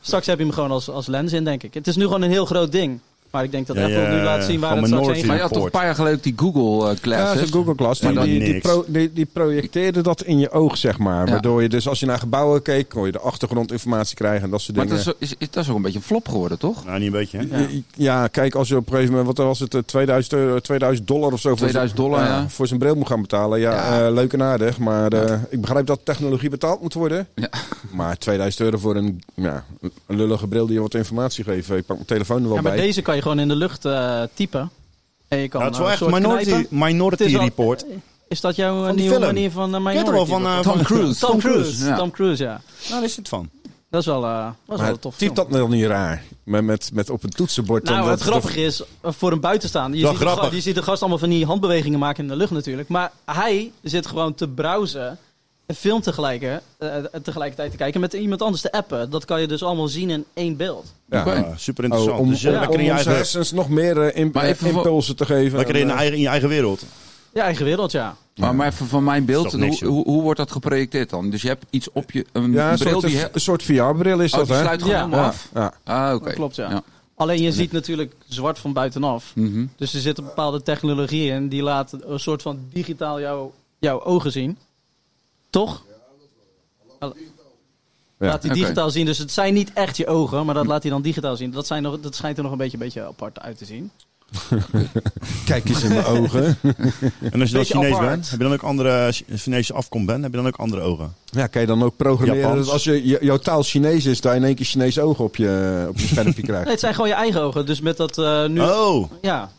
Speaker 1: Straks heb je hem gewoon als, als lens in, denk ik. Het is nu gewoon een heel groot ding. Maar ik denk dat
Speaker 2: Ja,
Speaker 1: Apple
Speaker 2: ja,
Speaker 1: nu laat zien waar het straks heen
Speaker 4: Maar je
Speaker 1: gaat.
Speaker 4: had toch een paar jaar geleden ook die Google eh,
Speaker 5: Ja,
Speaker 4: Glasses?
Speaker 5: zo'n Google Glass.
Speaker 4: Maar
Speaker 5: Die,
Speaker 4: dan
Speaker 5: die, die,
Speaker 4: niks.
Speaker 5: pro- die, die projecteerde dat in je oog, zeg maar.
Speaker 4: Ja.
Speaker 5: Waardoor je dus als je naar gebouwen keek, kon je de achtergrondinformatie krijgen en dat soort
Speaker 4: Maar dat
Speaker 5: dingen.
Speaker 4: is, is, is- dat is ook een beetje een flop geworden, toch?
Speaker 2: Nou, niet een beetje,
Speaker 5: Ja. Ja, kijk, als je op een gegeven moment, wat was het, eh, 2000, euro- 2000 dollar of zo voor
Speaker 4: 2000
Speaker 5: zijn- eh,
Speaker 4: dollar, ja.
Speaker 5: voor zijn bril moet gaan betalen. Ja,
Speaker 4: Ja.
Speaker 5: eh, leuk en aardig, maar eh, ik begrijp dat technologie betaald moet worden. Maar 2000 euro voor een, ja, een lullige bril die je wat informatie geeft. Ik pak mijn telefoon er wel
Speaker 1: Ja, maar
Speaker 5: bij.
Speaker 1: deze kan je gewoon in de lucht eh, typen. En je kan
Speaker 2: Ja, het is wel
Speaker 1: eh,
Speaker 2: echt
Speaker 1: een soort
Speaker 2: minority,
Speaker 1: knijpen. Het
Speaker 2: minority
Speaker 1: is wel-
Speaker 2: Report.
Speaker 1: Is dat jouw eh,
Speaker 2: die
Speaker 1: nieuwe
Speaker 2: film.
Speaker 1: manier van uh,
Speaker 2: Ken je
Speaker 1: minority?
Speaker 2: toch wel van, eh,
Speaker 1: Report?
Speaker 2: van-
Speaker 1: Tom Cruise.
Speaker 2: ja.
Speaker 1: Tom Cruise, ja.
Speaker 2: Nou, daar is het van.
Speaker 1: Dat is wel, eh was wel
Speaker 5: Maar
Speaker 1: een tof
Speaker 5: typ dat nou niet raar. Met, met, met op een toetsenbord. dan
Speaker 1: Nou,
Speaker 5: dat-
Speaker 1: het grappige is, eh, voor een buitenstaander... Je
Speaker 5: Wel
Speaker 1: ziet, de
Speaker 5: grappig.
Speaker 1: gast, je ziet de gast allemaal van die handbewegingen maken in de lucht natuurlijk. Maar hij zit gewoon te browsen... Een film tegelijk, eh, eh, tegelijkertijd te kijken met iemand anders te appen. Dat kan je dus allemaal zien in één beeld.
Speaker 5: Ja,
Speaker 2: Oké.
Speaker 5: ja,
Speaker 2: super interessant.
Speaker 5: Oh, om
Speaker 2: Dus, eh,
Speaker 5: om-
Speaker 2: lekker in
Speaker 5: om
Speaker 2: je
Speaker 5: onze
Speaker 2: eigen-
Speaker 5: hersens nog meer eh, imp-
Speaker 4: Maar even voor-
Speaker 5: impulsen te geven.
Speaker 2: Lekker in,
Speaker 5: En,
Speaker 2: je
Speaker 5: eh,
Speaker 2: eigen- in je eigen wereld.
Speaker 1: Ja, eigen wereld, ja.
Speaker 4: Maar, maar even van mijn beeld,
Speaker 2: Dat is toch niks,
Speaker 4: hoe, hoe, hoe wordt dat geprojecteerd dan? Dus je hebt iets op je... Een
Speaker 5: eh, ja, een
Speaker 4: bril
Speaker 5: soort,
Speaker 4: die... he-
Speaker 5: een soort VR-bril is
Speaker 4: Oh,
Speaker 5: dat,
Speaker 4: die
Speaker 5: hè?
Speaker 4: sluit gewoon
Speaker 1: Ja.
Speaker 4: helemaal
Speaker 5: Ja,
Speaker 4: af.
Speaker 5: ja.
Speaker 4: Ah, oké.
Speaker 1: Dat klopt, ja.
Speaker 4: Ja.
Speaker 1: Alleen je ziet natuurlijk zwart van buitenaf.
Speaker 4: Mhm.
Speaker 1: Dus er zit een bepaalde technologie in die laat een soort van digitaal jouw, jouw ogen zien. Toch? Laat die
Speaker 4: Oké.
Speaker 1: digitaal zien. Dus het zijn niet echt je ogen, maar dat laat hij dan digitaal zien. Dat, zijn nog, dat schijnt er nog een beetje, beetje apart uit te zien.
Speaker 5: Kijk eens in mijn ogen.
Speaker 2: En als je dan
Speaker 1: Beetje
Speaker 2: Chinees
Speaker 1: apart.
Speaker 2: bent, heb je dan ook andere eh, Chi- Chinese afkomst bent, heb je dan ook andere ogen.
Speaker 5: Ja, kan je dan ook programmeren
Speaker 2: Japans.
Speaker 5: dat als je, je- jouw taal Chinees is, dat je in één keer Chinees ogen op je, op je schermpje
Speaker 1: Nee,
Speaker 5: krijgt.
Speaker 1: het zijn gewoon je eigen ogen. Dus met dat eh, nu.
Speaker 2: Oh,
Speaker 1: Ja,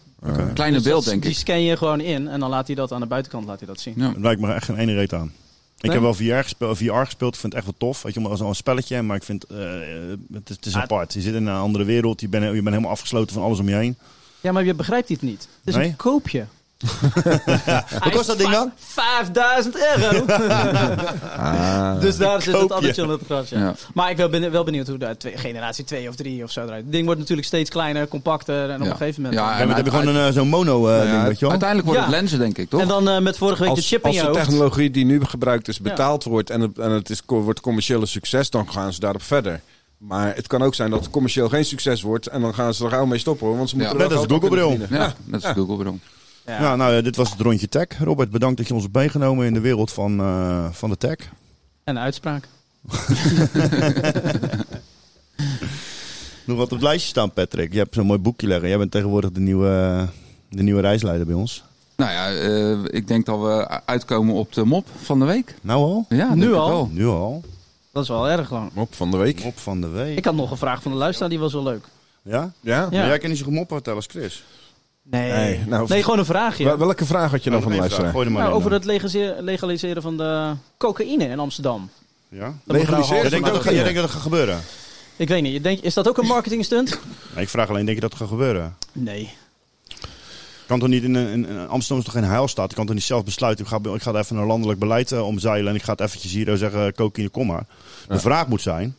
Speaker 4: Kleine
Speaker 1: dus dat-
Speaker 4: beeld, denk
Speaker 1: die
Speaker 4: ik.
Speaker 1: scan je gewoon in en dan laat hij dat aan de buitenkant laat hij dat zien.
Speaker 4: Ja.
Speaker 2: dat lijkt me echt geen ene reet aan. Ik
Speaker 1: Nee?
Speaker 2: heb wel VR gespeeld, VR gespeeld, ik vind het echt wel tof. Weet je, maar als een spelletje, maar ik vind eh, het, is- het is
Speaker 1: Ah,
Speaker 2: apart. Je zit in een andere wereld, je bent, je bent helemaal afgesloten van alles om je heen.
Speaker 1: Ja, maar je begrijpt dit niet. Het is
Speaker 2: Nee?
Speaker 1: een koopje.
Speaker 2: Wat kost dat ding dan?
Speaker 1: 5000 euro!
Speaker 5: Ah.
Speaker 1: Dus daar zit het
Speaker 2: koopje.
Speaker 1: addertje aan het gras, ja.
Speaker 4: Ja.
Speaker 1: Maar ik ben ben wel benieuwd hoe de twee, generatie 2 of 3 of zo eruit. Het ding wordt natuurlijk steeds kleiner, compacter en op
Speaker 4: Ja.
Speaker 1: een gegeven moment...
Speaker 4: Ja,
Speaker 2: Ja, maar dan heb je
Speaker 4: uiteindelijk-
Speaker 2: gewoon een, eh, zo'n mono eh,
Speaker 5: Nou ja,
Speaker 2: ding, weet je wel.
Speaker 4: Uiteindelijk worden
Speaker 1: Ja.
Speaker 4: het lenzen, denk ik, toch?
Speaker 1: en dan eh, met vorige week de
Speaker 5: Als,
Speaker 1: chip in
Speaker 5: als
Speaker 1: je
Speaker 5: de
Speaker 1: hoofd.
Speaker 5: technologie die nu gebruikt is
Speaker 1: Ja.
Speaker 5: betaald wordt en het, en het is, co- wordt commercieel een succes, dan gaan ze daarop verder. Maar het kan ook zijn dat het commercieel geen succes wordt en dan gaan ze er gauw mee stoppen. hoor, Want ze moeten
Speaker 4: Ja.
Speaker 5: er wel
Speaker 2: Net als
Speaker 5: geld aan
Speaker 2: Google-bril.
Speaker 5: kunnen verdienen.
Speaker 4: Ja, dat is Google bedoel.
Speaker 1: Ja.
Speaker 2: Ja, nou, eh, dit was het rondje tech. Robert, bedankt dat je ons hebt meegenomen in de wereld van, eh, van de tech.
Speaker 1: En de uitspraak.
Speaker 2: Nog wat op het lijstje staan, Patrick. Je hebt zo'n mooi boekje leggen. Jij bent tegenwoordig de nieuwe, de nieuwe reisleider bij ons.
Speaker 4: Nou ja, eh, ik denk dat we uitkomen op de mop van de week.
Speaker 2: Nou al?
Speaker 4: Ja,
Speaker 1: Nu
Speaker 4: denk ik
Speaker 1: al?
Speaker 4: wel.
Speaker 2: Nu al.
Speaker 1: Dat is wel erg lang.
Speaker 5: Mop van de week.
Speaker 2: Mop van de
Speaker 1: Ik
Speaker 2: week.
Speaker 1: had nog een vraag van de luisteraar, die was wel leuk.
Speaker 2: Ja?
Speaker 5: Ja?
Speaker 1: Ja.
Speaker 2: Maar jij kan niet zo goed moppen vertellen als Chris.
Speaker 1: Nee,
Speaker 5: Nee,
Speaker 1: nee,
Speaker 5: nou,
Speaker 1: gewoon een vraagje.
Speaker 5: Wel- Welke vraag had je dan van de
Speaker 2: Nog één vraag.
Speaker 5: luisteraar?
Speaker 2: Gooi er maar
Speaker 1: Nou,
Speaker 2: in
Speaker 1: over
Speaker 2: dan.
Speaker 1: het legaliseer- legaliseren van de cocaïne in Amsterdam.
Speaker 2: Ja?
Speaker 1: Dat mevrouw
Speaker 5: Legaliseren?
Speaker 2: Jij
Speaker 1: Halsema-
Speaker 2: denkt, dat, jij denkt dat het gaat gebeuren?
Speaker 1: Ik weet niet, ik denk, is dat ook een marketingstunt?
Speaker 2: Nee, ik vraag alleen, denk je dat het gaat gebeuren?
Speaker 1: Nee.
Speaker 2: Kan toch niet in, een- in, in Amsterdam is toch geen huilstaat? Ik kan toch niet zelf besluiten, ik ga, ik ga even een landelijk beleid eh, omzeilen... en ik ga het eventjes hier eh, zeggen, cocaïne, kom maar. De vraag moet zijn,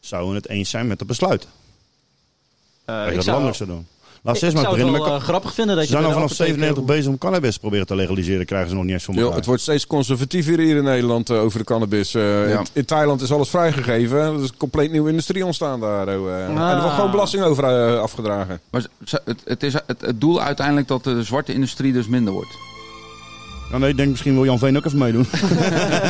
Speaker 2: zouden we het eens zijn met het besluit?
Speaker 1: Eh,
Speaker 2: Dat je
Speaker 1: ik
Speaker 2: dat
Speaker 1: zou,
Speaker 2: landelijk zou doen. Laat
Speaker 1: ik
Speaker 2: ze eerst maar
Speaker 1: zou het
Speaker 2: beginnen met...
Speaker 1: wel eh, grappig vinden dat
Speaker 2: Ze zijn
Speaker 1: je...
Speaker 2: al
Speaker 1: bij de
Speaker 2: vanaf 97
Speaker 1: apotheek-
Speaker 2: bezig om cannabis te proberen te legaliseren. Krijgen ze nog niet eens van
Speaker 5: Joh,
Speaker 2: elkaar.
Speaker 5: het wordt steeds conservatiever hier in Nederland eh, over de cannabis. Eh,
Speaker 4: Ja.
Speaker 5: in, in Thailand is alles vrijgegeven. Er is een compleet nieuwe industrie ontstaan daar. oh, eh. En er wordt gewoon belasting over eh, afgedragen.
Speaker 4: Maar z- het, het is het, het doel uiteindelijk dat de zwarte industrie dus minder wordt.
Speaker 2: Ja, nee, ik denk misschien wil Jan Veen ook even meedoen.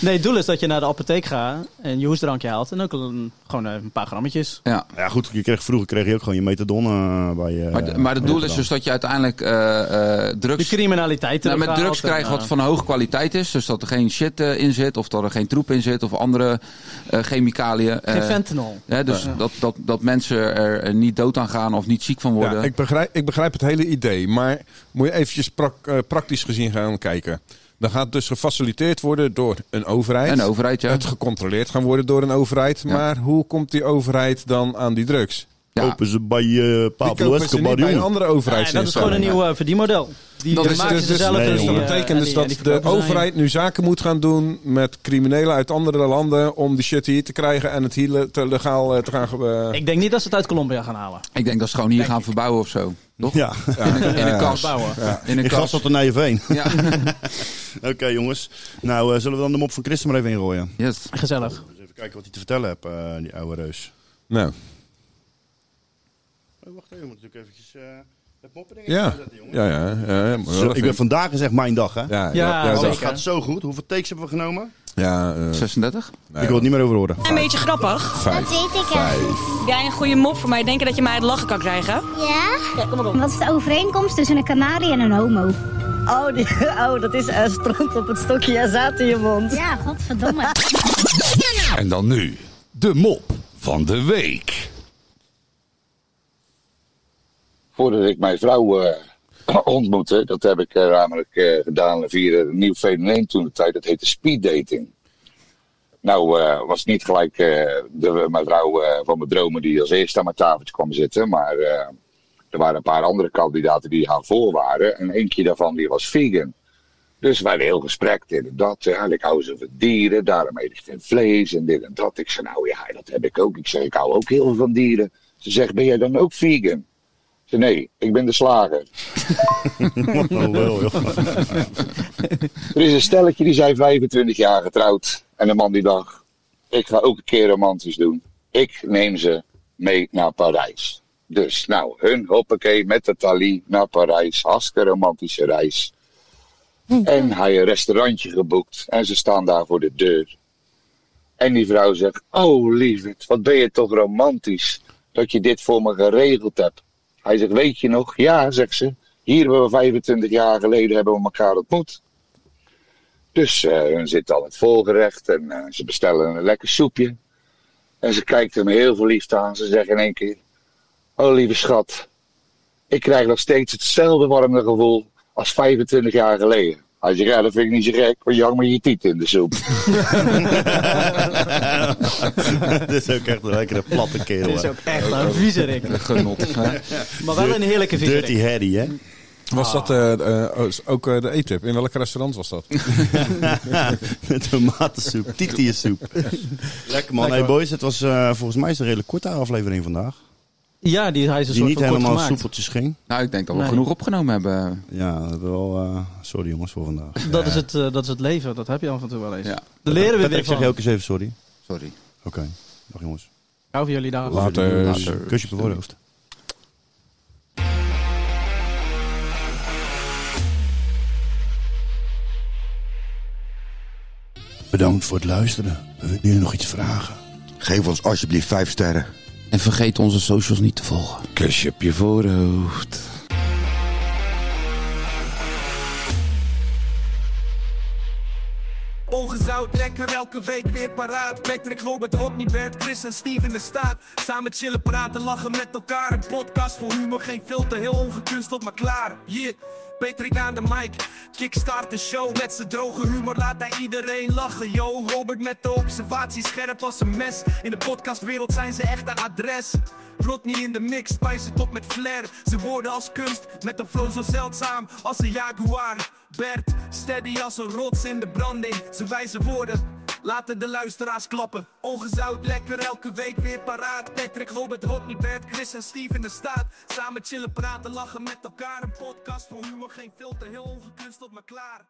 Speaker 1: Nee, het doel is dat je naar de apotheek gaat en je hoestdrankje haalt en ook een- gewoon eh, een paar grammetjes.
Speaker 4: Ja.
Speaker 2: ja goed, je kreeg, vroeger kreeg je ook gewoon je methadon eh, bij eh,
Speaker 4: Maar, de- maar het doel is
Speaker 2: Rotterdam.
Speaker 4: dus dat je uiteindelijk eh, eh,
Speaker 1: De
Speaker 4: drugs,
Speaker 1: criminaliteit
Speaker 4: nou, met
Speaker 1: terughaalt
Speaker 4: drugs
Speaker 1: en,
Speaker 4: krijgt
Speaker 1: eh,
Speaker 4: wat van hoge kwaliteit is. Dus dat er geen shit eh, in zit of dat er geen troep in zit of andere eh, chemicaliën.
Speaker 1: Geen
Speaker 4: Eh,
Speaker 1: fentanyl.
Speaker 4: hè, dus dat, dat, dat mensen er eh, niet dood aan gaan of niet ziek van worden.
Speaker 5: Ja, ik, begrijp, ik begrijp het hele idee. Maar moet je eventjes prak- eh, praktisch gezien gaan kijken. Dan gaat het dus gefaciliteerd worden door een overheid.
Speaker 4: en de overheid, ja.
Speaker 5: Het gecontroleerd gaan worden door een overheid.
Speaker 4: Ja.
Speaker 5: Maar hoe komt die overheid dan aan die drugs?
Speaker 4: Ja.
Speaker 2: Kopen ze bij eh
Speaker 5: Die
Speaker 2: Pablo
Speaker 5: kopen ze niet
Speaker 2: Escobar
Speaker 5: bij een
Speaker 2: jongen.
Speaker 5: andere overheid.
Speaker 1: Nee, dat is gewoon een nieuw eh, verdienmodel. Die
Speaker 4: Dat
Speaker 1: eh,
Speaker 4: is-
Speaker 1: maken
Speaker 5: dus,
Speaker 1: ze
Speaker 5: dus-
Speaker 1: zelf.
Speaker 2: nee,
Speaker 1: en
Speaker 5: dus
Speaker 1: die,
Speaker 5: dat
Speaker 1: eh, en
Speaker 5: betekent dus
Speaker 1: die- en
Speaker 5: dat
Speaker 1: die
Speaker 5: de
Speaker 1: verkopen ze aan je.
Speaker 5: overheid nu zaken moet gaan doen met criminelen uit andere landen om die shit hier te krijgen en het hier le- te legaal eh, te gaan. eh,
Speaker 1: Ik denk niet dat ze het uit Colombia gaan halen.
Speaker 4: Ik denk dat ze gewoon hier gaan verbouwen of zo. Toch?
Speaker 2: Ja,
Speaker 4: In, een- in een kas.
Speaker 1: Bouwen.
Speaker 4: In een
Speaker 2: ik gas
Speaker 4: kas.
Speaker 2: op de Nijenveen.
Speaker 4: Ja.
Speaker 2: Oké jongens, nou eh, zullen we dan de mop van Christen maar even ingooien?
Speaker 4: Yes.
Speaker 1: Gezellig.
Speaker 2: Eens even kijken wat hij te vertellen heeft, eh, die oude reus.
Speaker 5: Nou,
Speaker 2: Oh, wacht even, we moeten natuurlijk eventjes eh, het mopperding
Speaker 5: Ja.
Speaker 2: zetten, jongen.
Speaker 5: Ja, ja, ja, ja, maar
Speaker 2: Zo,
Speaker 5: wel
Speaker 2: ik ben
Speaker 5: even.
Speaker 2: vandaag is echt mijn dag, hè?
Speaker 5: Ja, ja, ja,
Speaker 2: Alles
Speaker 5: zeker.
Speaker 2: gaat zo goed. Hoeveel takes hebben we genomen?
Speaker 5: Ja, eh,
Speaker 4: 36?
Speaker 2: ik wil het niet meer over horen.
Speaker 13: Een beetje grappig.
Speaker 5: Vijf.
Speaker 14: Weet ik
Speaker 5: Vijf.
Speaker 13: Heb Jij een goede mop voor mij. Denk je dat je mij het lachen kan krijgen?
Speaker 14: Ja?
Speaker 13: kom maar op.
Speaker 14: Wat is de overeenkomst tussen een kanarie en een homo?
Speaker 15: Oh, die, oh dat is eh, stront op het stokje en zaad in je mond.
Speaker 14: Ja, godverdomme.
Speaker 16: En dan nu de mop van de week.
Speaker 17: voordat ik mijn vrouw eh, ontmoette, dat heb ik eh, namelijk eh, gedaan via een nieuw fenomeen toen de tijd, dat heette speeddating. Nou, eh, was niet gelijk eh, de, mijn vrouw eh, van mijn dromen die als eerste aan mijn tafeltje kwam zitten, maar eh, er waren een paar andere kandidaten die haar voor waren en eentje daarvan die was vegan. Dus wij hadden heel gesprek, dit en dat. Ja, ik hou ze van dieren, daarom eet ik geen vlees en dit en dat. Ik zei, nou ja, dat heb ik ook. Ik zei, ik hou ook heel veel van dieren. Ze zegt, ben jij dan ook vegan? Ik zei, nee, ik ben de slager.
Speaker 2: Oh,
Speaker 17: er is een stelletje, die zijn 25 jaar getrouwd. En de man die dacht, ik ga ook een keer romantisch doen. Ik neem ze mee naar Parijs. Dus nou, hun hoppakee met de Thalie naar Parijs. Hartstikke romantische reis. En hij een restaurantje geboekt. En ze staan daar voor de deur. En die vrouw zegt: Oh lieverd, wat ben je toch romantisch dat je dit voor me geregeld hebt. Hij zegt: Weet je nog? Ja, zegt ze. Hier hebben we 25 jaar geleden hebben we elkaar ontmoet. Dus eh, hun zit al het voorgerecht en eh, ze bestellen een lekker soepje. En ze kijkt hem heel verliefd aan. Ze zegt in één keer: Oh lieve schat, ik krijg nog steeds hetzelfde warme gevoel als 25 jaar geleden. Hij zegt: Ja, dat vind ik niet zo gek, want je hangt met je tieten in de soep.
Speaker 2: Dit is ook echt een lekkere platte kerel.
Speaker 1: Dit is
Speaker 2: hè.
Speaker 1: ook echt een viezerik.
Speaker 4: Een genot, hè?
Speaker 1: Maar wel een heerlijke viezerik.
Speaker 2: Dirty Harry, hè?
Speaker 5: Was dat eh, eh, ook eh, de e-tip? In welk restaurant was dat?
Speaker 2: De tomatensoep, titiënsoep. Lekker man. Hey boys, het was eh, volgens mij is het een redelijk korte aflevering vandaag.
Speaker 1: Ja, die, hij is een
Speaker 2: Die
Speaker 1: soort
Speaker 2: niet
Speaker 1: van kort
Speaker 2: helemaal
Speaker 1: gemaakt.
Speaker 2: soepeltjes ging.
Speaker 4: Nou, ik denk dat we
Speaker 1: Nee.
Speaker 4: genoeg opgenomen hebben.
Speaker 2: Ja, we hebben wel... eh, sorry jongens voor vandaag.
Speaker 1: Dat, is het, eh, dat is het leven, dat heb je af en toe wel eens.
Speaker 4: Ja.
Speaker 1: Daar leren we
Speaker 2: Patrick,
Speaker 1: weer
Speaker 2: zeg je
Speaker 1: van.
Speaker 2: ook eens even sorry.
Speaker 4: Sorry.
Speaker 2: Oké, dag jongens.
Speaker 1: Ik hou van jullie daar.
Speaker 2: Later. Kusje op je voorhoofd. Bedankt voor het luisteren. We willen jullie nog iets vragen.
Speaker 3: Geef ons alsjeblieft vijf sterren.
Speaker 4: En vergeet onze socials niet te volgen.
Speaker 16: Kusje op je voorhoofd.
Speaker 18: Ongezout trekken elke week weer paraat. Patrick, Robert, Rodney, Bert, Chris en Steve in de staat. Samen chillen, praten, lachen met elkaar. Een podcast voor humor, geen filter, heel ongekunsteld, maar klaar. Yeah, Patrick aan de mic. Kickstart de show met zijn droge humor, laat hij iedereen lachen. Yo, Robert met de observatie, scherp als een mes. In de podcastwereld zijn ze echt een adres. Rodney in de mix, spice het op met flair. Ze woorden als kunst, met een flow zo zeldzaam als een jaguar. Bert, steady als een rots in de branding. Ze wijze woorden, laten de luisteraars klappen. Ongezout, lekker, elke week weer paraat. Patrick, Robert, Rodney, Bert, Chris en Steve in de staat. Samen chillen, praten, lachen met elkaar. Een podcast voor humor, geen filter, heel ongekunsteld, maar klaar.